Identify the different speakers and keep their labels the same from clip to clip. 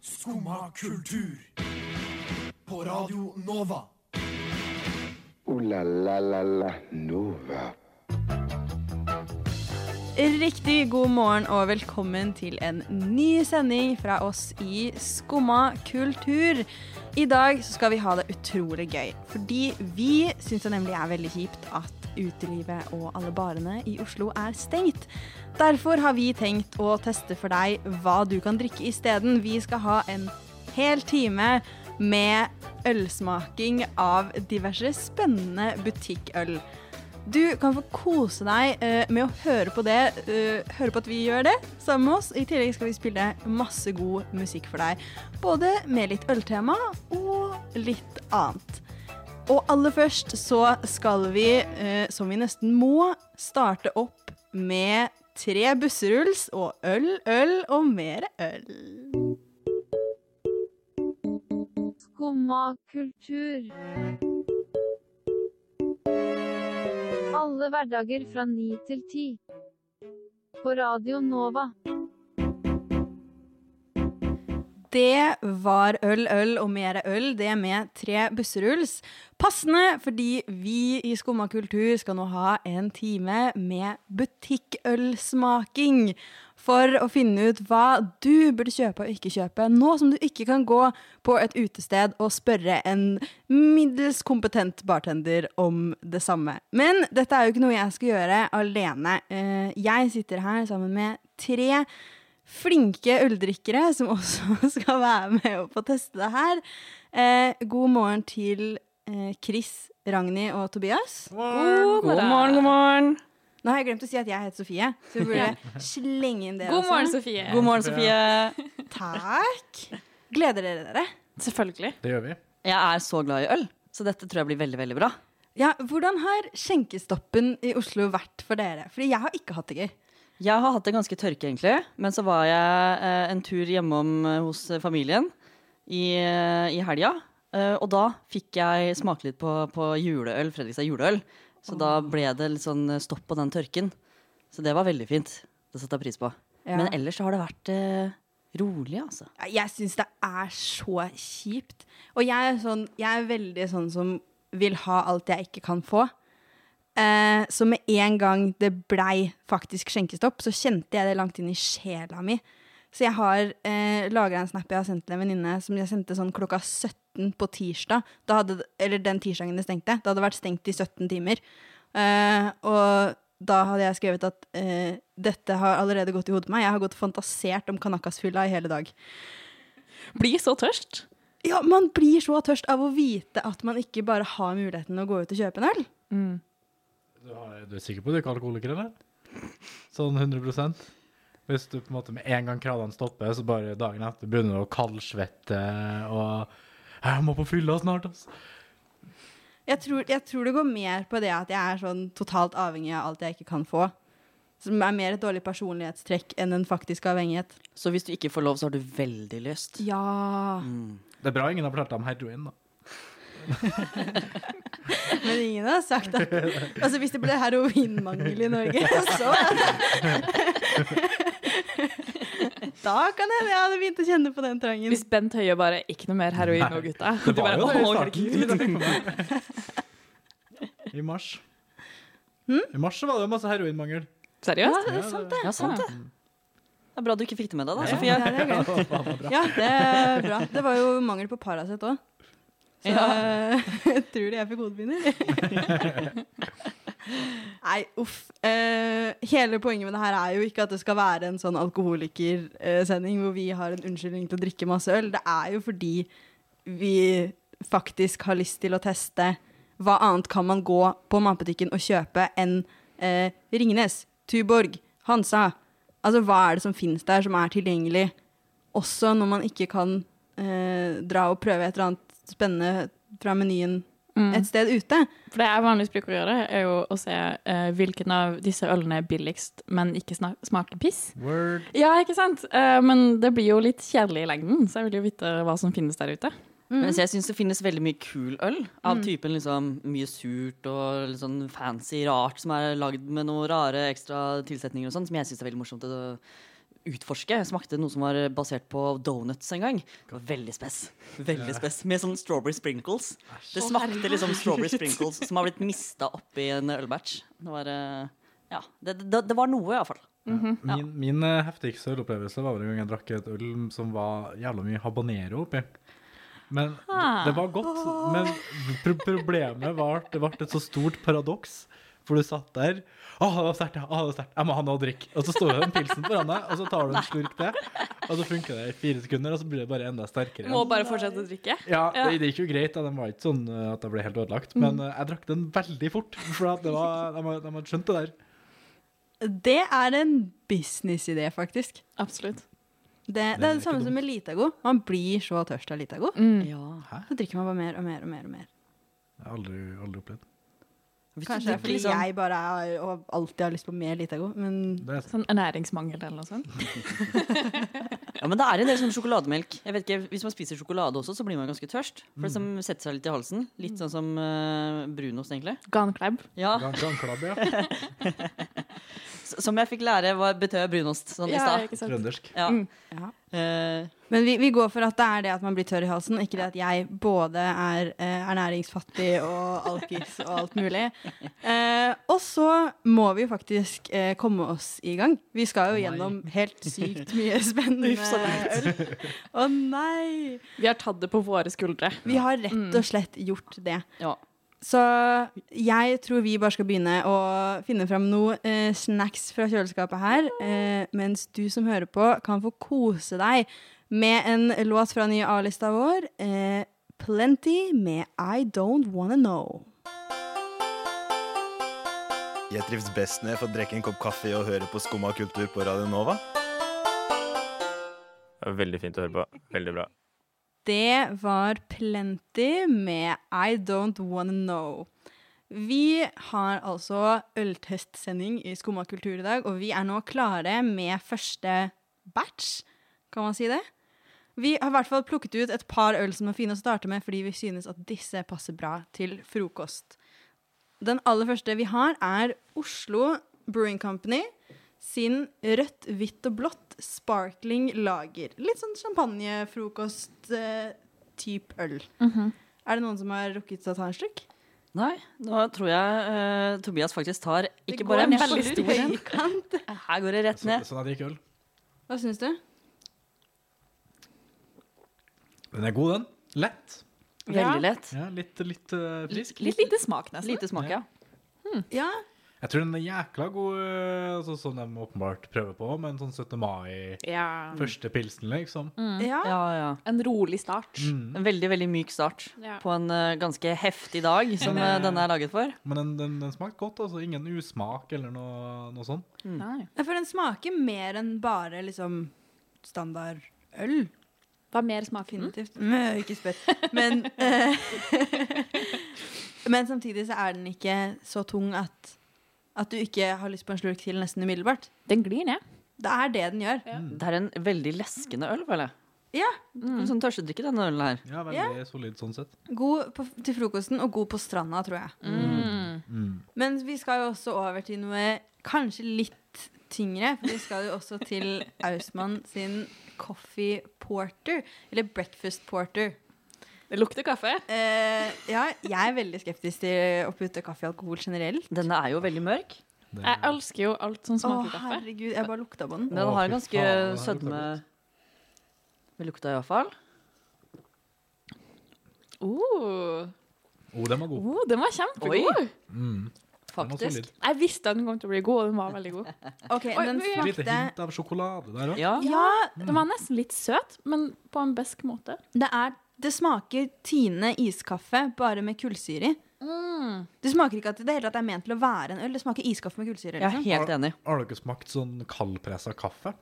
Speaker 1: Skumma kultur. På Radio Nova.
Speaker 2: Ooh la la la la Nova.
Speaker 3: Riktig god morgen og velkommen til en ny sending fra oss i Skumma kultur. I dag så skal vi ha det utrolig gøy, fordi vi syns det nemlig er veldig kjipt at utelivet og alle barene i Oslo er stengt. Derfor har vi tenkt å teste for deg hva du kan drikke isteden. Vi skal ha en hel time med ølsmaking av diverse spennende butikkøl. Du kan få kose deg eh, med å høre på det, eh, høre på at vi gjør det sammen med oss. I tillegg skal vi spille masse god musikk for deg, både med litt øltema og litt annet. Og aller først så skal vi, eh, som vi nesten må, starte opp med tre busseruls og øl, øl og mer øl.
Speaker 4: Skumma kultur. Alle hverdager fra 9 til 10. På Radio Nova.
Speaker 3: Det var øl, øl og mer øl, det med tre busseruls. Passende fordi vi i Skumma kultur skal nå ha en time med butikkølsmaking. For å finne ut hva du burde kjøpe og ikke kjøpe, nå som du ikke kan gå på et utested og spørre en middels kompetent bartender om det samme. Men dette er jo ikke noe jeg skal gjøre alene. Eh, Jeg sitter her sammen med tre flinke øldrikkere som også skal være med og få teste det her. Eh, god morgen til eh, Chris, Ragnhild og Tobias.
Speaker 5: God morgen, god morgen.
Speaker 3: Nå har jeg glemt å si at jeg heter Sofie, så vi burde slenge inn det.
Speaker 5: God
Speaker 3: også.
Speaker 5: morgen, Sofie.
Speaker 6: God morgen, Sofie.
Speaker 3: Takk. Gleder dere dere?
Speaker 5: Selvfølgelig.
Speaker 6: Det gjør vi.
Speaker 7: Jeg er så glad i øl, så dette tror jeg blir veldig veldig bra.
Speaker 3: Ja, Hvordan har skjenkestoppen i Oslo vært for dere? Fordi jeg har ikke hatt det gøy.
Speaker 7: Jeg har hatt det ganske tørke, egentlig. Men så var jeg eh, en tur hjemom eh, hos familien i, eh, i helga. Eh, og da fikk jeg smake litt på, på juleøl, Fredrikstad juleøl. Så da ble det litt sånn stopp på den tørken. Så det var veldig fint. Det setter jeg pris på.
Speaker 3: Ja.
Speaker 7: Men ellers så har det vært eh, rolig, altså.
Speaker 3: Jeg syns det er så kjipt. Og jeg er, sånn, jeg er veldig sånn som vil ha alt jeg ikke kan få. Eh, så med en gang det blei faktisk skjenkestopp, så kjente jeg det langt inn i sjela mi. Så jeg har eh, lagra en snap jeg har sendt til en venninne som jeg sendte sånn klokka 17 på tirsdag. Da hadde, eller den tirsdagen det stengte. Det hadde vært stengt i 17 timer. Eh, og da hadde jeg skrevet at eh, dette har allerede gått i hodet på meg. Jeg har gått og fantasert om Kanakasfylla i hele dag.
Speaker 5: Bli så tørst.
Speaker 3: Ja, man blir så tørst av å vite at man ikke bare har muligheten å gå ut og kjøpe en øl.
Speaker 6: Du, har, du er sikker på at du ikke er alkoholiker, eller? Sånn 100 Hvis du på en måte med en gang kravene stopper, så bare dagen etter begynner du å kaldsvette og Jeg må på fylla snart, altså.
Speaker 3: Jeg tror, jeg tror det går mer på det at jeg er sånn totalt avhengig av alt jeg ikke kan få. Som er mer et dårlig personlighetstrekk enn en faktisk avhengighet.
Speaker 7: Så hvis du ikke får lov, så har du veldig lyst.
Speaker 3: Ja,
Speaker 6: Det er bra ingen har fortalt deg om heroin, da.
Speaker 3: men ingen har sagt at Altså, hvis det ble heroinmangel i Norge, så Da kan jeg, jeg hadde begynt å kjenne på den trangen.
Speaker 5: Hvis Bent Høie bare Ikke noe mer heroin nå, gutta.
Speaker 6: Det
Speaker 5: Du
Speaker 6: var jo
Speaker 5: bare,
Speaker 6: det i
Speaker 5: «Åh,
Speaker 6: starten. I mars. I mars så var det jo masse heroinmangel.
Speaker 3: Ja,
Speaker 5: Seriøst? sånn,
Speaker 3: det Hmm? er sant, det.
Speaker 7: Ja, sant det. Det er bra du ikke fikk det med deg, da, Sofie.
Speaker 3: Ja, det er gøy. Ja, det er bra. Det var jo mangel på Paracet òg. Så jeg tror det jeg fikk hodepiner. Nei, uff. Eh, hele poenget med det her er jo ikke at det skal være en sånn alkoholikersending hvor vi har en unnskyldning til å drikke masse øl. Det er jo fordi vi faktisk har lyst til å teste hva annet kan man gå på matbutikken og kjøpe enn eh, Ringnes, Tuborg, Hansa. Altså, hva er det som finnes der som er tilgjengelig? også når man ikke kan eh, dra og prøve et eller annet spennende fra menyen
Speaker 7: Mm.
Speaker 3: et sted ute.
Speaker 5: Mm. For det jeg vanligvis bruker å gjøre, er jo å se eh, hvilken av disse ølene er billigst, men ikke snak- smaker piss.
Speaker 6: Word.
Speaker 5: Ja, ikke sant? Eh, men det blir jo litt kjedelig i lengden, så jeg vil jo vite hva som finnes der ute.
Speaker 7: Mens jeg syns det finnes veldig mye kul øl. Av typen liksom mye surt og litt sånn fancy rart som er lagd med noen rare ekstra tilsetninger og sånn, som jeg syns er veldig morsomt å utforske. Jeg smakte noe som var basert på donuts en gang. Det var veldig spess. Veldig spess. Med sånn strawberry sprinkles. Det smakte liksom strawberry sprinkles som har blitt mista oppi en ølbatch. Det var, eh, ja, det, det, det var noe, iallfall.
Speaker 6: Min, min eh, heftigste ølopplevelse var vel en gang jeg drakk et øl som var jævla mye habanero oppi. Men det, det var godt. Men pro problemet var at det ble et så stort paradoks. For du satt der Å, det var sterkt, ja. Å, det var sterkt. Jeg må ha noe å drikke. Og så står det en pilsen foran deg, og så tar du en slurk til. Og så funker det i fire sekunder, og så blir det bare enda sterkere.
Speaker 5: Må bare fortsette å drikke.
Speaker 6: Ja, det, det gikk jo greit. da. Den var ikke sånn eh, at jeg ble helt ødelagt. Men eh, jeg drakk den veldig fort, for at det var, de, hadde- de hadde skjønt det der.
Speaker 3: Det er en businessidé, faktisk.
Speaker 5: Absolutt.
Speaker 3: Det, det er det samme som med Litago. Man blir så tørst av Litago.
Speaker 7: Mm. Ja.
Speaker 3: Så drikker man bare mer og mer og mer. og mer.
Speaker 6: Jeg har aldri, aldri opplevd
Speaker 7: Hvis du
Speaker 3: Kanskje det er
Speaker 7: drikker
Speaker 3: fordi
Speaker 7: liksom-
Speaker 3: jeg bare er, og alltid har lyst på mer Litago, men
Speaker 6: det.
Speaker 5: Sånn ernæringsmangel eller noe sånt.
Speaker 7: Ja, men det er en del sånn sjokolademelk. Jeg vet ikke, Hvis man spiser sjokolade også, så blir man ganske tørst. For det som setter seg litt i halsen. Litt sånn som eh, brunost, egentlig.
Speaker 5: Gankleib.
Speaker 7: Ja,
Speaker 6: Gang, gangklabb, ja.
Speaker 7: s- Som jeg fikk lære var betød brunost sånn i stad.
Speaker 5: ikke sant.
Speaker 6: Trøndersk.
Speaker 7: Ja.
Speaker 5: Mm.
Speaker 3: Ja.
Speaker 7: Eh,
Speaker 3: Men vi, vi går for at det er det at man blir tørr i halsen, ikke det at jeg både er eh, ernæringsfattig og alkis og alt mulig. Eh, og så må vi jo faktisk eh, komme oss i gang. Vi skal jo gjennom helt sykt mye spennende
Speaker 7: Uff, så
Speaker 3: øl. Å nei!
Speaker 5: Vi har tatt det på våre skuldre.
Speaker 3: Vi har rett og slett gjort det.
Speaker 7: ja.
Speaker 3: Så jeg tror vi bare skal begynne å finne fram noe eh, snacks fra kjøleskapet her, eh, mens du som hører på kan få kose deg med en låt fra nye A-lista vår, eh, Plenty med I Don't Wanna Know.
Speaker 8: Jeg trives best når jeg får drikke en kopp kaffe og høre på Skumma kultur på Radio Nova.
Speaker 9: Veldig fint å høre på. Veldig bra.
Speaker 3: Det var Plenty med I Don't Wanna Know. Vi har altså øltestsending i Skumma kultur i dag, og vi er nå klare med første batch, kan man si det? Vi har i hvert fall plukket ut et par øl som er fine å starte med, fordi vi synes at disse passer bra til frokost. Den aller første vi har, er Oslo Brewing Company sin rødt, hvitt og blått sparkling lager. Litt sånn champagnefrokost-type øl. Er det noen som har rukket å ta en slurk?
Speaker 7: Nei, nå tror jeg eh, Tobias faktisk tar
Speaker 3: Det
Speaker 7: ikke
Speaker 3: går
Speaker 7: bare en
Speaker 3: ned på
Speaker 7: veldig stor en.
Speaker 3: høykant.
Speaker 7: Her går det rett
Speaker 6: Så,
Speaker 7: ned.
Speaker 6: sånn at det gikk øl.
Speaker 3: Hva syns du?
Speaker 6: Den er god, den. Lett.
Speaker 7: Veldig lett.
Speaker 6: Ja, litt, litt eh, frisk.
Speaker 5: Litt lite smak, nesten.
Speaker 7: Lite smak, ja.
Speaker 3: Ja,
Speaker 6: Jeg tror den er jækla god, eh, altså, sånn de åpenbart prøver på, men sånn 17. mai,
Speaker 5: Ja.
Speaker 6: første pilsen, liksom.
Speaker 3: ja.
Speaker 7: Ja, ja.
Speaker 5: En rolig start.
Speaker 6: Mm.
Speaker 7: En veldig veldig myk start
Speaker 5: Ja.
Speaker 7: på en eh, ganske heftig dag som eh, denne er laget for.
Speaker 6: Men den, den, den smakte godt, altså. Ingen usmak eller noe, noe sånt.
Speaker 5: Nei.
Speaker 3: Ja, For den smaker mer enn bare liksom standard øl.
Speaker 5: Hva mer smaker den?
Speaker 3: Definitivt. Mø, ikke spør. Men, eh, men samtidig så er den ikke så tung at, at du ikke har lyst på en slurk til nesten umiddelbart.
Speaker 5: Mm. Den glir ned.
Speaker 3: Det er det den gjør.
Speaker 7: Det er en veldig leskende øl, føler jeg.
Speaker 3: Ja,
Speaker 7: Sånn tørstedrikke, denne ølen her.
Speaker 6: Ja, veldig solid sånn sett.
Speaker 3: God på, til frokosten og god på stranda, tror jeg.
Speaker 5: Mm.
Speaker 6: Mm.
Speaker 3: Men vi skal jo også over til noe kanskje litt tyngre. For vi skal jo også til Ausmann sin coffee porter. Eller breakfast porter.
Speaker 5: Det lukter kaffe.
Speaker 3: Eh, ja, jeg er veldig skeptisk til å putte kaffe i alkohol generelt.
Speaker 7: Denne er jo veldig mørk.
Speaker 6: Det,
Speaker 5: Jeg elsker jo alt som
Speaker 3: Å,
Speaker 5: smaker kaffe.
Speaker 3: herregud. Jeg bare lukta på den.
Speaker 7: Den
Speaker 6: Å,
Speaker 7: har
Speaker 6: fy
Speaker 7: ganske
Speaker 6: faen, den her lukter
Speaker 7: sødme
Speaker 6: godt.
Speaker 7: Med lukta, iallfall.
Speaker 5: Oh.
Speaker 6: oh, den var god.
Speaker 5: Oh, den var kjempegod.
Speaker 6: Den var
Speaker 7: Faktisk.
Speaker 6: solid.
Speaker 5: Jeg visste at den kom til å bli god, og den var veldig god.
Speaker 3: Ok,
Speaker 5: Oi,
Speaker 3: Den
Speaker 5: oi, oi.
Speaker 6: Lite
Speaker 3: smakte
Speaker 6: hint av sjokolade der òg.
Speaker 7: Ja.
Speaker 3: Ja,
Speaker 5: Den var nesten litt søt, men på en besk måte.
Speaker 3: det er Det smaker Tine iskaffe, bare med kullsyre i. Det smaker ikke at det, hele tatt er ment til å være en øl. Det smaker iskaffe med kullsyre.
Speaker 7: Jeg er
Speaker 3: Liksom.
Speaker 7: helt enig.
Speaker 6: Har dere smakt sånn kaldpressa kaffe?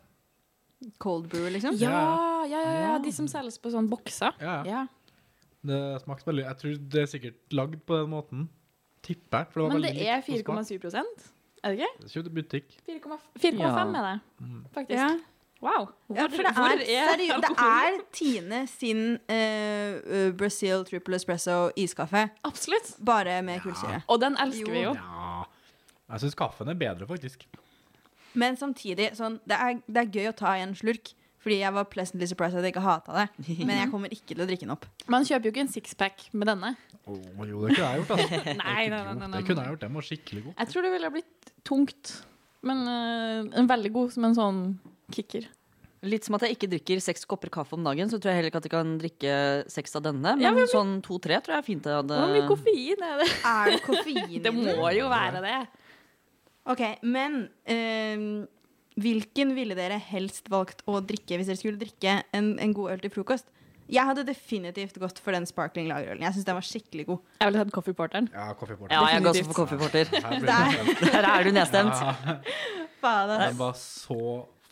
Speaker 3: Cold brew, liksom.
Speaker 5: Ja, ja, ja, ja. De som selges på sånn bokser.
Speaker 6: Ja, ja.
Speaker 5: Ja.
Speaker 6: Det smakte veldig Jeg tror det er sikkert lagd på den måten. Tipper. jeg, For det var
Speaker 5: Men det
Speaker 6: veldig
Speaker 5: er
Speaker 6: likt på smak.
Speaker 5: 4,7 Er det ikke?
Speaker 6: Kjøpte butikk.
Speaker 5: 4,5 4,5 er det,
Speaker 6: Mm.
Speaker 5: faktisk.
Speaker 3: Ja.
Speaker 5: Wow.
Speaker 3: Ja, for det
Speaker 5: Hvor
Speaker 3: er, seriø- det er Tine sin eh, eh, Brazil triple espresso iskaffe,
Speaker 5: Absolutt.
Speaker 3: bare med kullsyre.
Speaker 5: Og den elsker vi jo.
Speaker 6: Ja. Jeg syns kaffen er bedre, faktisk.
Speaker 3: Men samtidig, sånn, det, er, det er gøy å ta en slurk. Fordi jeg var pleasantly surprised at jeg ikke hata det. Men jeg kommer ikke til å drikke den opp.
Speaker 5: Man kjøper jo ikke en sixpack med denne.
Speaker 6: Å, jo, det kunne jeg gjort, altså.
Speaker 5: Nei, nei, nei, nei, nei.
Speaker 6: Det kunne jeg gjort. Den var skikkelig god.
Speaker 5: Jeg tror det ville ha blitt tungt. Men eh, en veldig god som en sånn kicker.
Speaker 7: Litt som at jeg ikke drikker seks kopper kaffe om dagen, så tror jeg heller ikke at jeg kan drikke seks av denne. Men
Speaker 5: Ja, men
Speaker 7: sånn to-tre tror jeg er fint. Jeg
Speaker 10: Eh,
Speaker 7: hadde...
Speaker 5: Hvor mye koffein er det?
Speaker 3: Er det koffein i
Speaker 5: Det
Speaker 3: den?
Speaker 5: må jo være det.
Speaker 3: Ok, men ehm, hvilken ville dere helst valgt å drikke hvis dere skulle drikke en, en god øl til frokost? Jeg hadde definitivt gått for den sparkling lagerølen. Jeg synes den var skikkelig god.
Speaker 5: Jeg ville hatt Coffeeporteren.
Speaker 6: Ja, kaffeporter.
Speaker 7: Ja, jeg går også
Speaker 5: Definitivt.
Speaker 7: for kaffeporter.
Speaker 6: Her blir det-
Speaker 7: Der er du nedstemt.
Speaker 6: Ja,
Speaker 3: Faen, ass.
Speaker 6: Den var så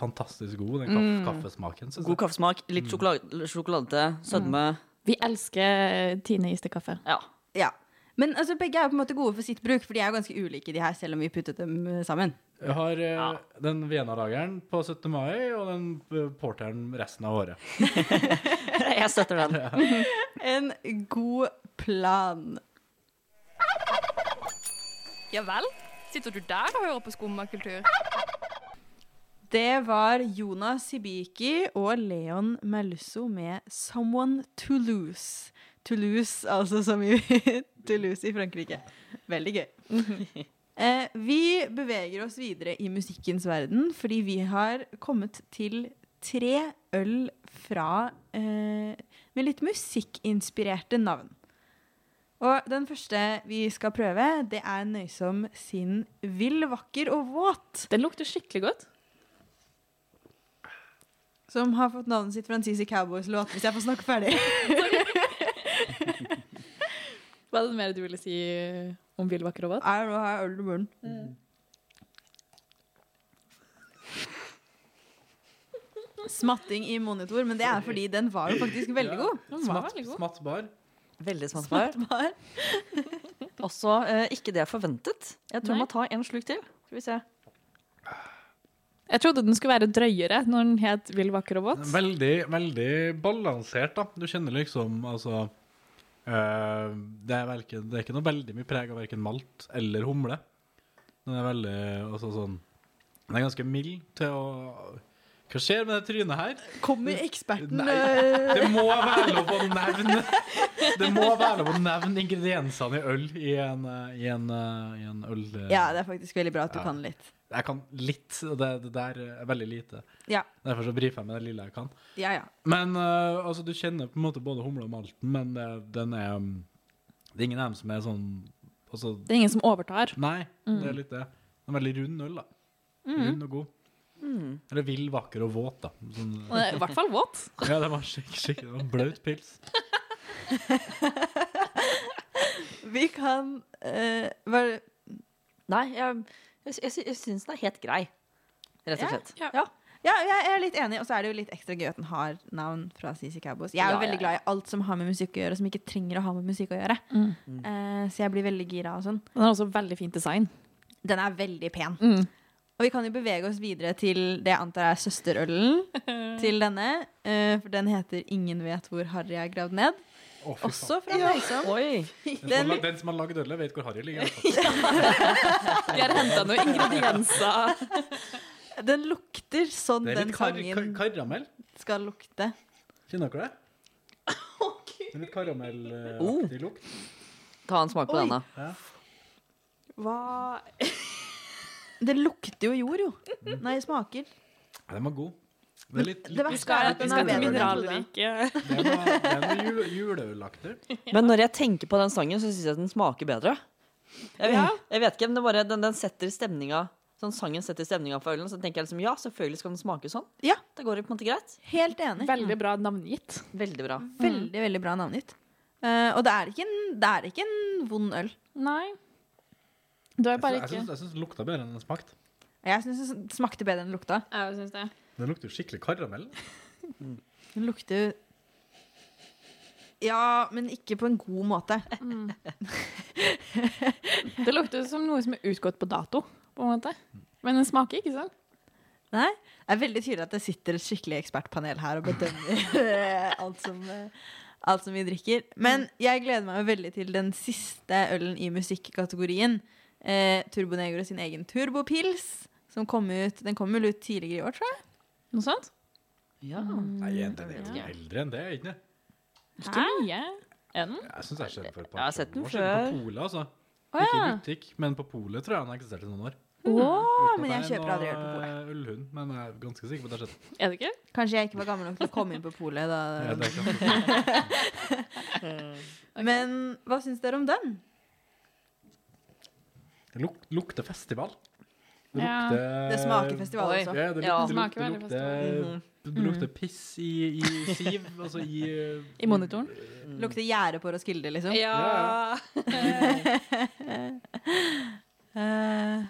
Speaker 6: fantastisk god, den kaff
Speaker 5: Mm.
Speaker 6: kaffesmaken. synes
Speaker 7: God
Speaker 6: jeg.
Speaker 7: kaffesmak, litt sjokolade, sjokoladete, sødme.
Speaker 5: Vi elsker Tine istekaffe.
Speaker 7: Ja.
Speaker 3: Ja. Men altså, begge er jo på en måte gode for sitt bruk, for de er jo ganske ulike, de her, selv om vi puttet dem eh, sammen.
Speaker 6: Jeg har eh, den Vienna-lageren på 17. mai, og den eh, porteren resten av året.
Speaker 7: Jeg støtter den.
Speaker 3: En god plan.
Speaker 10: Ja vel? Sitter du der og hører på skummakultur?
Speaker 3: Det var Jonas Sibiki og Leon Melusso med 'Someone to Lose'. Toulouse, altså som i Toulouse i Frankrike. Veldig gøy. Eh, vi beveger oss videre i musikkens verden, fordi vi har kommet til tre øl fra eh, med litt musikkinspirerte navn. Og den første vi skal prøve, det er Nøysom sin 'Vill, vakker og våt'
Speaker 5: Den lukter skikkelig godt.
Speaker 3: som har fått navnet sitt fra en CC Cowboys-låt, hvis jeg får snakke ferdig.
Speaker 5: Hva er det mer du ville si eh, om Vill vakker og våt?
Speaker 3: Er nå har jeg øl i munnen. Smatting i monitor, men det er fordi den var jo faktisk veldig god.
Speaker 5: Den var
Speaker 6: Smatt,
Speaker 5: veldig god.
Speaker 6: smattbar.
Speaker 7: Veldig smattbar. Også eh, ikke det jeg forventet. Jeg tror
Speaker 5: Nei.
Speaker 7: jeg må ta en slurk til. Skal vi se.
Speaker 5: Jeg trodde den skulle være drøyere når den het Vill vakker og våt.
Speaker 6: Veldig, veldig balansert, da. Du kjenner liksom, altså eh, det, er verken, det er ikke noe veldig mye preg av verken malt eller humle. Den er veldig altså sånn Den er ganske mild til å Hva skjer med det trynet her?
Speaker 3: Kommer eksperten
Speaker 6: Nei.
Speaker 3: øh,
Speaker 6: Det må være lov å nevne Det må være lov å nevne ingrediensene i øl i en, eh, i en, eh, i en øl... eh.
Speaker 3: Ja, det er faktisk veldig bra at du
Speaker 6: Ja.
Speaker 3: kan litt.
Speaker 6: Jeg kan litt, og det, det der er veldig lite.
Speaker 3: Ja.
Speaker 6: Derfor så brifer jeg med det lille jeg kan.
Speaker 3: Ja, ja.
Speaker 6: Men eh, altså, du kjenner på en måte både humle og malten, men det, den er um, Det er ingen av dem som er sånn altså,
Speaker 5: Det er ingen som overtar.
Speaker 6: Nei,
Speaker 3: Mm.
Speaker 6: det er litt det. Den er veldig rund øl, da. Rund og god.
Speaker 3: Mm.
Speaker 6: Eller vill, vakker og våt, da. Sånn,
Speaker 5: Og det er I hvert fall våt.
Speaker 6: ja, det var skikkelig, skikkelig det var en blaut pils.
Speaker 3: Vi kan øh, hva-
Speaker 7: Nei, jeg, jeg, jeg, sy- jeg syns den er helt grei. Rett
Speaker 3: Ja,
Speaker 7: og slett.
Speaker 5: ja.
Speaker 3: ja, jeg er litt enig, og så er det jo litt ekstra gøy at den har navn fra CC Cowboys. Jeg er jo
Speaker 7: Ja, ja,
Speaker 3: veldig glad i alt som har med musikk å gjøre, som ikke trenger å ha med musikk å gjøre.
Speaker 5: Mm.
Speaker 3: Eh, så jeg blir veldig gira og sånn.
Speaker 5: Den har også veldig fint design.
Speaker 3: Den er veldig pen.
Speaker 5: Mm.
Speaker 3: Og vi kan jo bevege oss videre til det jeg antar er søsterølen til denne. eh, For den heter 'Ingen vet hvor Harry er gravd ned'.
Speaker 6: Å, fy faen.
Speaker 3: Også fra Nøysom.
Speaker 7: Oi.
Speaker 6: Den, som har
Speaker 3: Den,
Speaker 6: lag- den som har lagd ølet, vet hvor Harry ligger. altså.
Speaker 5: Vi har henta noen ingredienser.
Speaker 3: den lukter sånn
Speaker 6: Det er
Speaker 3: den
Speaker 6: litt kar kar
Speaker 3: sangen
Speaker 6: karamell.
Speaker 3: skal lukte.
Speaker 6: Kjenner dere det? Det er Litt karamellaktig
Speaker 7: Oh.
Speaker 6: lukt.
Speaker 7: Ta en smak på
Speaker 3: Oi.
Speaker 7: denne.
Speaker 5: Hva
Speaker 3: Det lukter jo jord, jo. Nei, smaker.
Speaker 6: Oh. Ja, den var god. Det er litt,
Speaker 3: Det
Speaker 6: litt
Speaker 3: verste er at
Speaker 5: Vi
Speaker 3: den er
Speaker 5: skal til
Speaker 3: bedre enn jeg trodde.
Speaker 5: mineralriket.
Speaker 6: Det er noe, det er noe jule, juleølaktig.
Speaker 7: Men når jeg tenker på den sangen, så syns jeg den smaker bedre. Jeg vet,
Speaker 5: Ja.
Speaker 7: jeg vet ikke, men det bare, den, den setter stemninga Sånn sangen setter stemninga for ølen. Så tenker jeg liksom, ja, selvfølgelig skal den smake sånn.
Speaker 3: Ja.
Speaker 7: Det går jo på en måte greit.
Speaker 3: Helt enig. Mm.
Speaker 5: Veldig bra navngitt.
Speaker 7: Veldig bra.
Speaker 3: Veldig, veldig bra navngitt. Eh, og det er, ikke en, det er ikke en vond øl.
Speaker 5: Nei. Du er
Speaker 6: Jeg
Speaker 5: bare
Speaker 6: syns-
Speaker 5: ikke
Speaker 6: Jeg syns den lukta bedre enn den smakte.
Speaker 3: Jeg syns den smakte bedre enn den lukta.
Speaker 5: Jeg syns det.
Speaker 6: Den lukter jo skikkelig karamell.
Speaker 3: Den lukter Ja, men ikke på en god måte.
Speaker 5: Det lukter som noe som er utgått på dato, på en måte. Men den smaker ikke sånn.
Speaker 3: Nei, Det er veldig tydelig at det sitter et skikkelig ekspertpanel her og bedømmer eh, alt som, eh, alt som vi drikker. Men jeg gleder meg jo veldig til den siste ølen i musikkategorien. Eh, Turbo Negro sin egen turbopils, Som kom ut, den kom vel ut tidligere i år, tror jeg.
Speaker 5: Noe sånt?
Speaker 7: Ja.
Speaker 6: Nei, jenter er jo eldre enn det, er ikke det?
Speaker 5: Ikke mye. Er den?
Speaker 6: Jeg syns jeg har sett den for et
Speaker 7: Jeg
Speaker 6: par
Speaker 7: har sett den
Speaker 6: år siden.
Speaker 7: før.
Speaker 6: På polet, altså.
Speaker 5: Å,
Speaker 6: Ikke i
Speaker 5: ja.
Speaker 6: butikk, men på polet tror jeg den har eksistert i noen år.
Speaker 3: Åh,
Speaker 6: Uten
Speaker 3: men jeg
Speaker 6: at det er
Speaker 3: kjøper aldri øl på
Speaker 6: noe,
Speaker 3: polet.
Speaker 6: eh, Ullhund, men jeg er ganske sikker på at jeg har sett den.
Speaker 5: Er det ikke?
Speaker 3: Mm. Kanskje jeg ikke var gammel nok til å komme inn på polet
Speaker 6: Jeg
Speaker 3: da.
Speaker 6: vet ikke om-
Speaker 3: Men hva syns dere om den?
Speaker 6: Det luk lukter festival. Det
Speaker 5: Ja.
Speaker 6: lukter
Speaker 3: Det smaker festival
Speaker 7: Oi.
Speaker 3: også.
Speaker 6: Ja, det lukter,
Speaker 7: Ja.
Speaker 6: det
Speaker 5: Smaker
Speaker 6: lukter,
Speaker 5: veldig Mhm.
Speaker 6: lukter, det lukter piss i, i siv, altså i
Speaker 5: I monitoren?
Speaker 3: Lukter gjerde på Roskilde, liksom.
Speaker 6: Ja.
Speaker 3: Eh,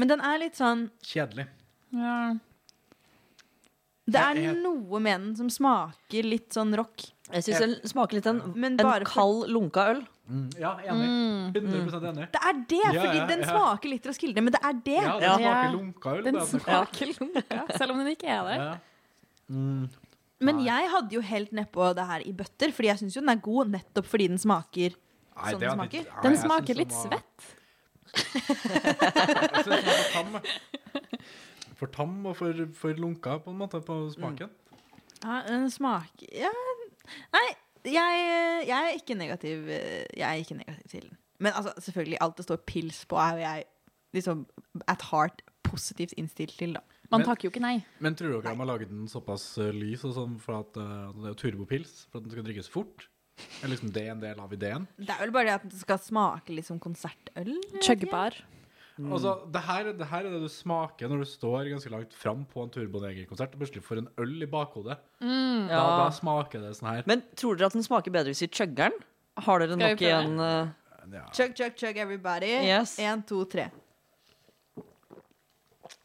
Speaker 3: Men den er litt sånn
Speaker 6: Kjedelig.
Speaker 5: ja.
Speaker 3: Det
Speaker 6: Jeg-
Speaker 3: er
Speaker 6: jeg-
Speaker 3: noe med den som smaker litt sånn rock.
Speaker 7: Jeg syns den smaker litt en,
Speaker 3: Men
Speaker 7: en
Speaker 3: bare for-
Speaker 7: kald, lunka øl.
Speaker 6: Mm, Ja,
Speaker 5: Mm.
Speaker 6: enig. 100 enig.
Speaker 3: Det er det,
Speaker 6: Ja,
Speaker 3: fordi
Speaker 6: ja,
Speaker 3: den
Speaker 6: ja.
Speaker 3: smaker litt Roskilde, men det er det.
Speaker 6: Ja, det
Speaker 7: Ja.
Speaker 6: smaker lunka øl.
Speaker 5: Den
Speaker 6: bare at det- altså
Speaker 5: smaker lunka, selv om den ikke er der.
Speaker 6: Ja. Mm.
Speaker 3: Men
Speaker 6: Nei.
Speaker 3: jeg hadde jo helt nedpå det her i bøtter, fordi jeg syns jo den er god nettopp fordi den smaker
Speaker 6: Nei,
Speaker 3: Sånn
Speaker 6: det
Speaker 3: den
Speaker 6: hadde
Speaker 3: smaker?
Speaker 6: ikke- Nei,
Speaker 5: Den
Speaker 6: jeg synes
Speaker 5: smaker
Speaker 6: den
Speaker 5: litt
Speaker 6: var-
Speaker 5: svett.
Speaker 6: Jeg synes den var for tam. For tam og for, for lunka, på en måte, på smaken.
Speaker 3: Ja, den smaker ja. Nei, jeg, jeg er ikke negativ eh, Jeg er ikke negativ til den. Men altså, selvfølgelig, alt det står pils på, er jo jeg liksom at heart positivt innstilt til, da.
Speaker 5: Man
Speaker 6: Men-
Speaker 5: takker jo ikke nei.
Speaker 6: Men tror dere de har laget den såpass eh, lys og sånn for at eh, det er jo turbopils, for at den skal drikkes fort? Er liksom det en del av ideen?
Speaker 3: Det er vel bare det at det skal smake litt som konsertøl.
Speaker 5: Chuggebar.
Speaker 6: Altså, det her, det her er det du smaker når du står ganske langt fram på en turbonegerkonsert og plutselig får en øl i bakhodet. Da, da
Speaker 7: Ja.
Speaker 6: smaker det sånn her.
Speaker 7: Men tror dere at den smaker bedre hvis vi chugger den? Har dere
Speaker 5: Skal vi
Speaker 7: nok
Speaker 5: prøve?
Speaker 7: igjen eh,
Speaker 6: Ja.
Speaker 3: Chug, chug, chug, everybody.
Speaker 7: Yes.
Speaker 3: Én, to, tre.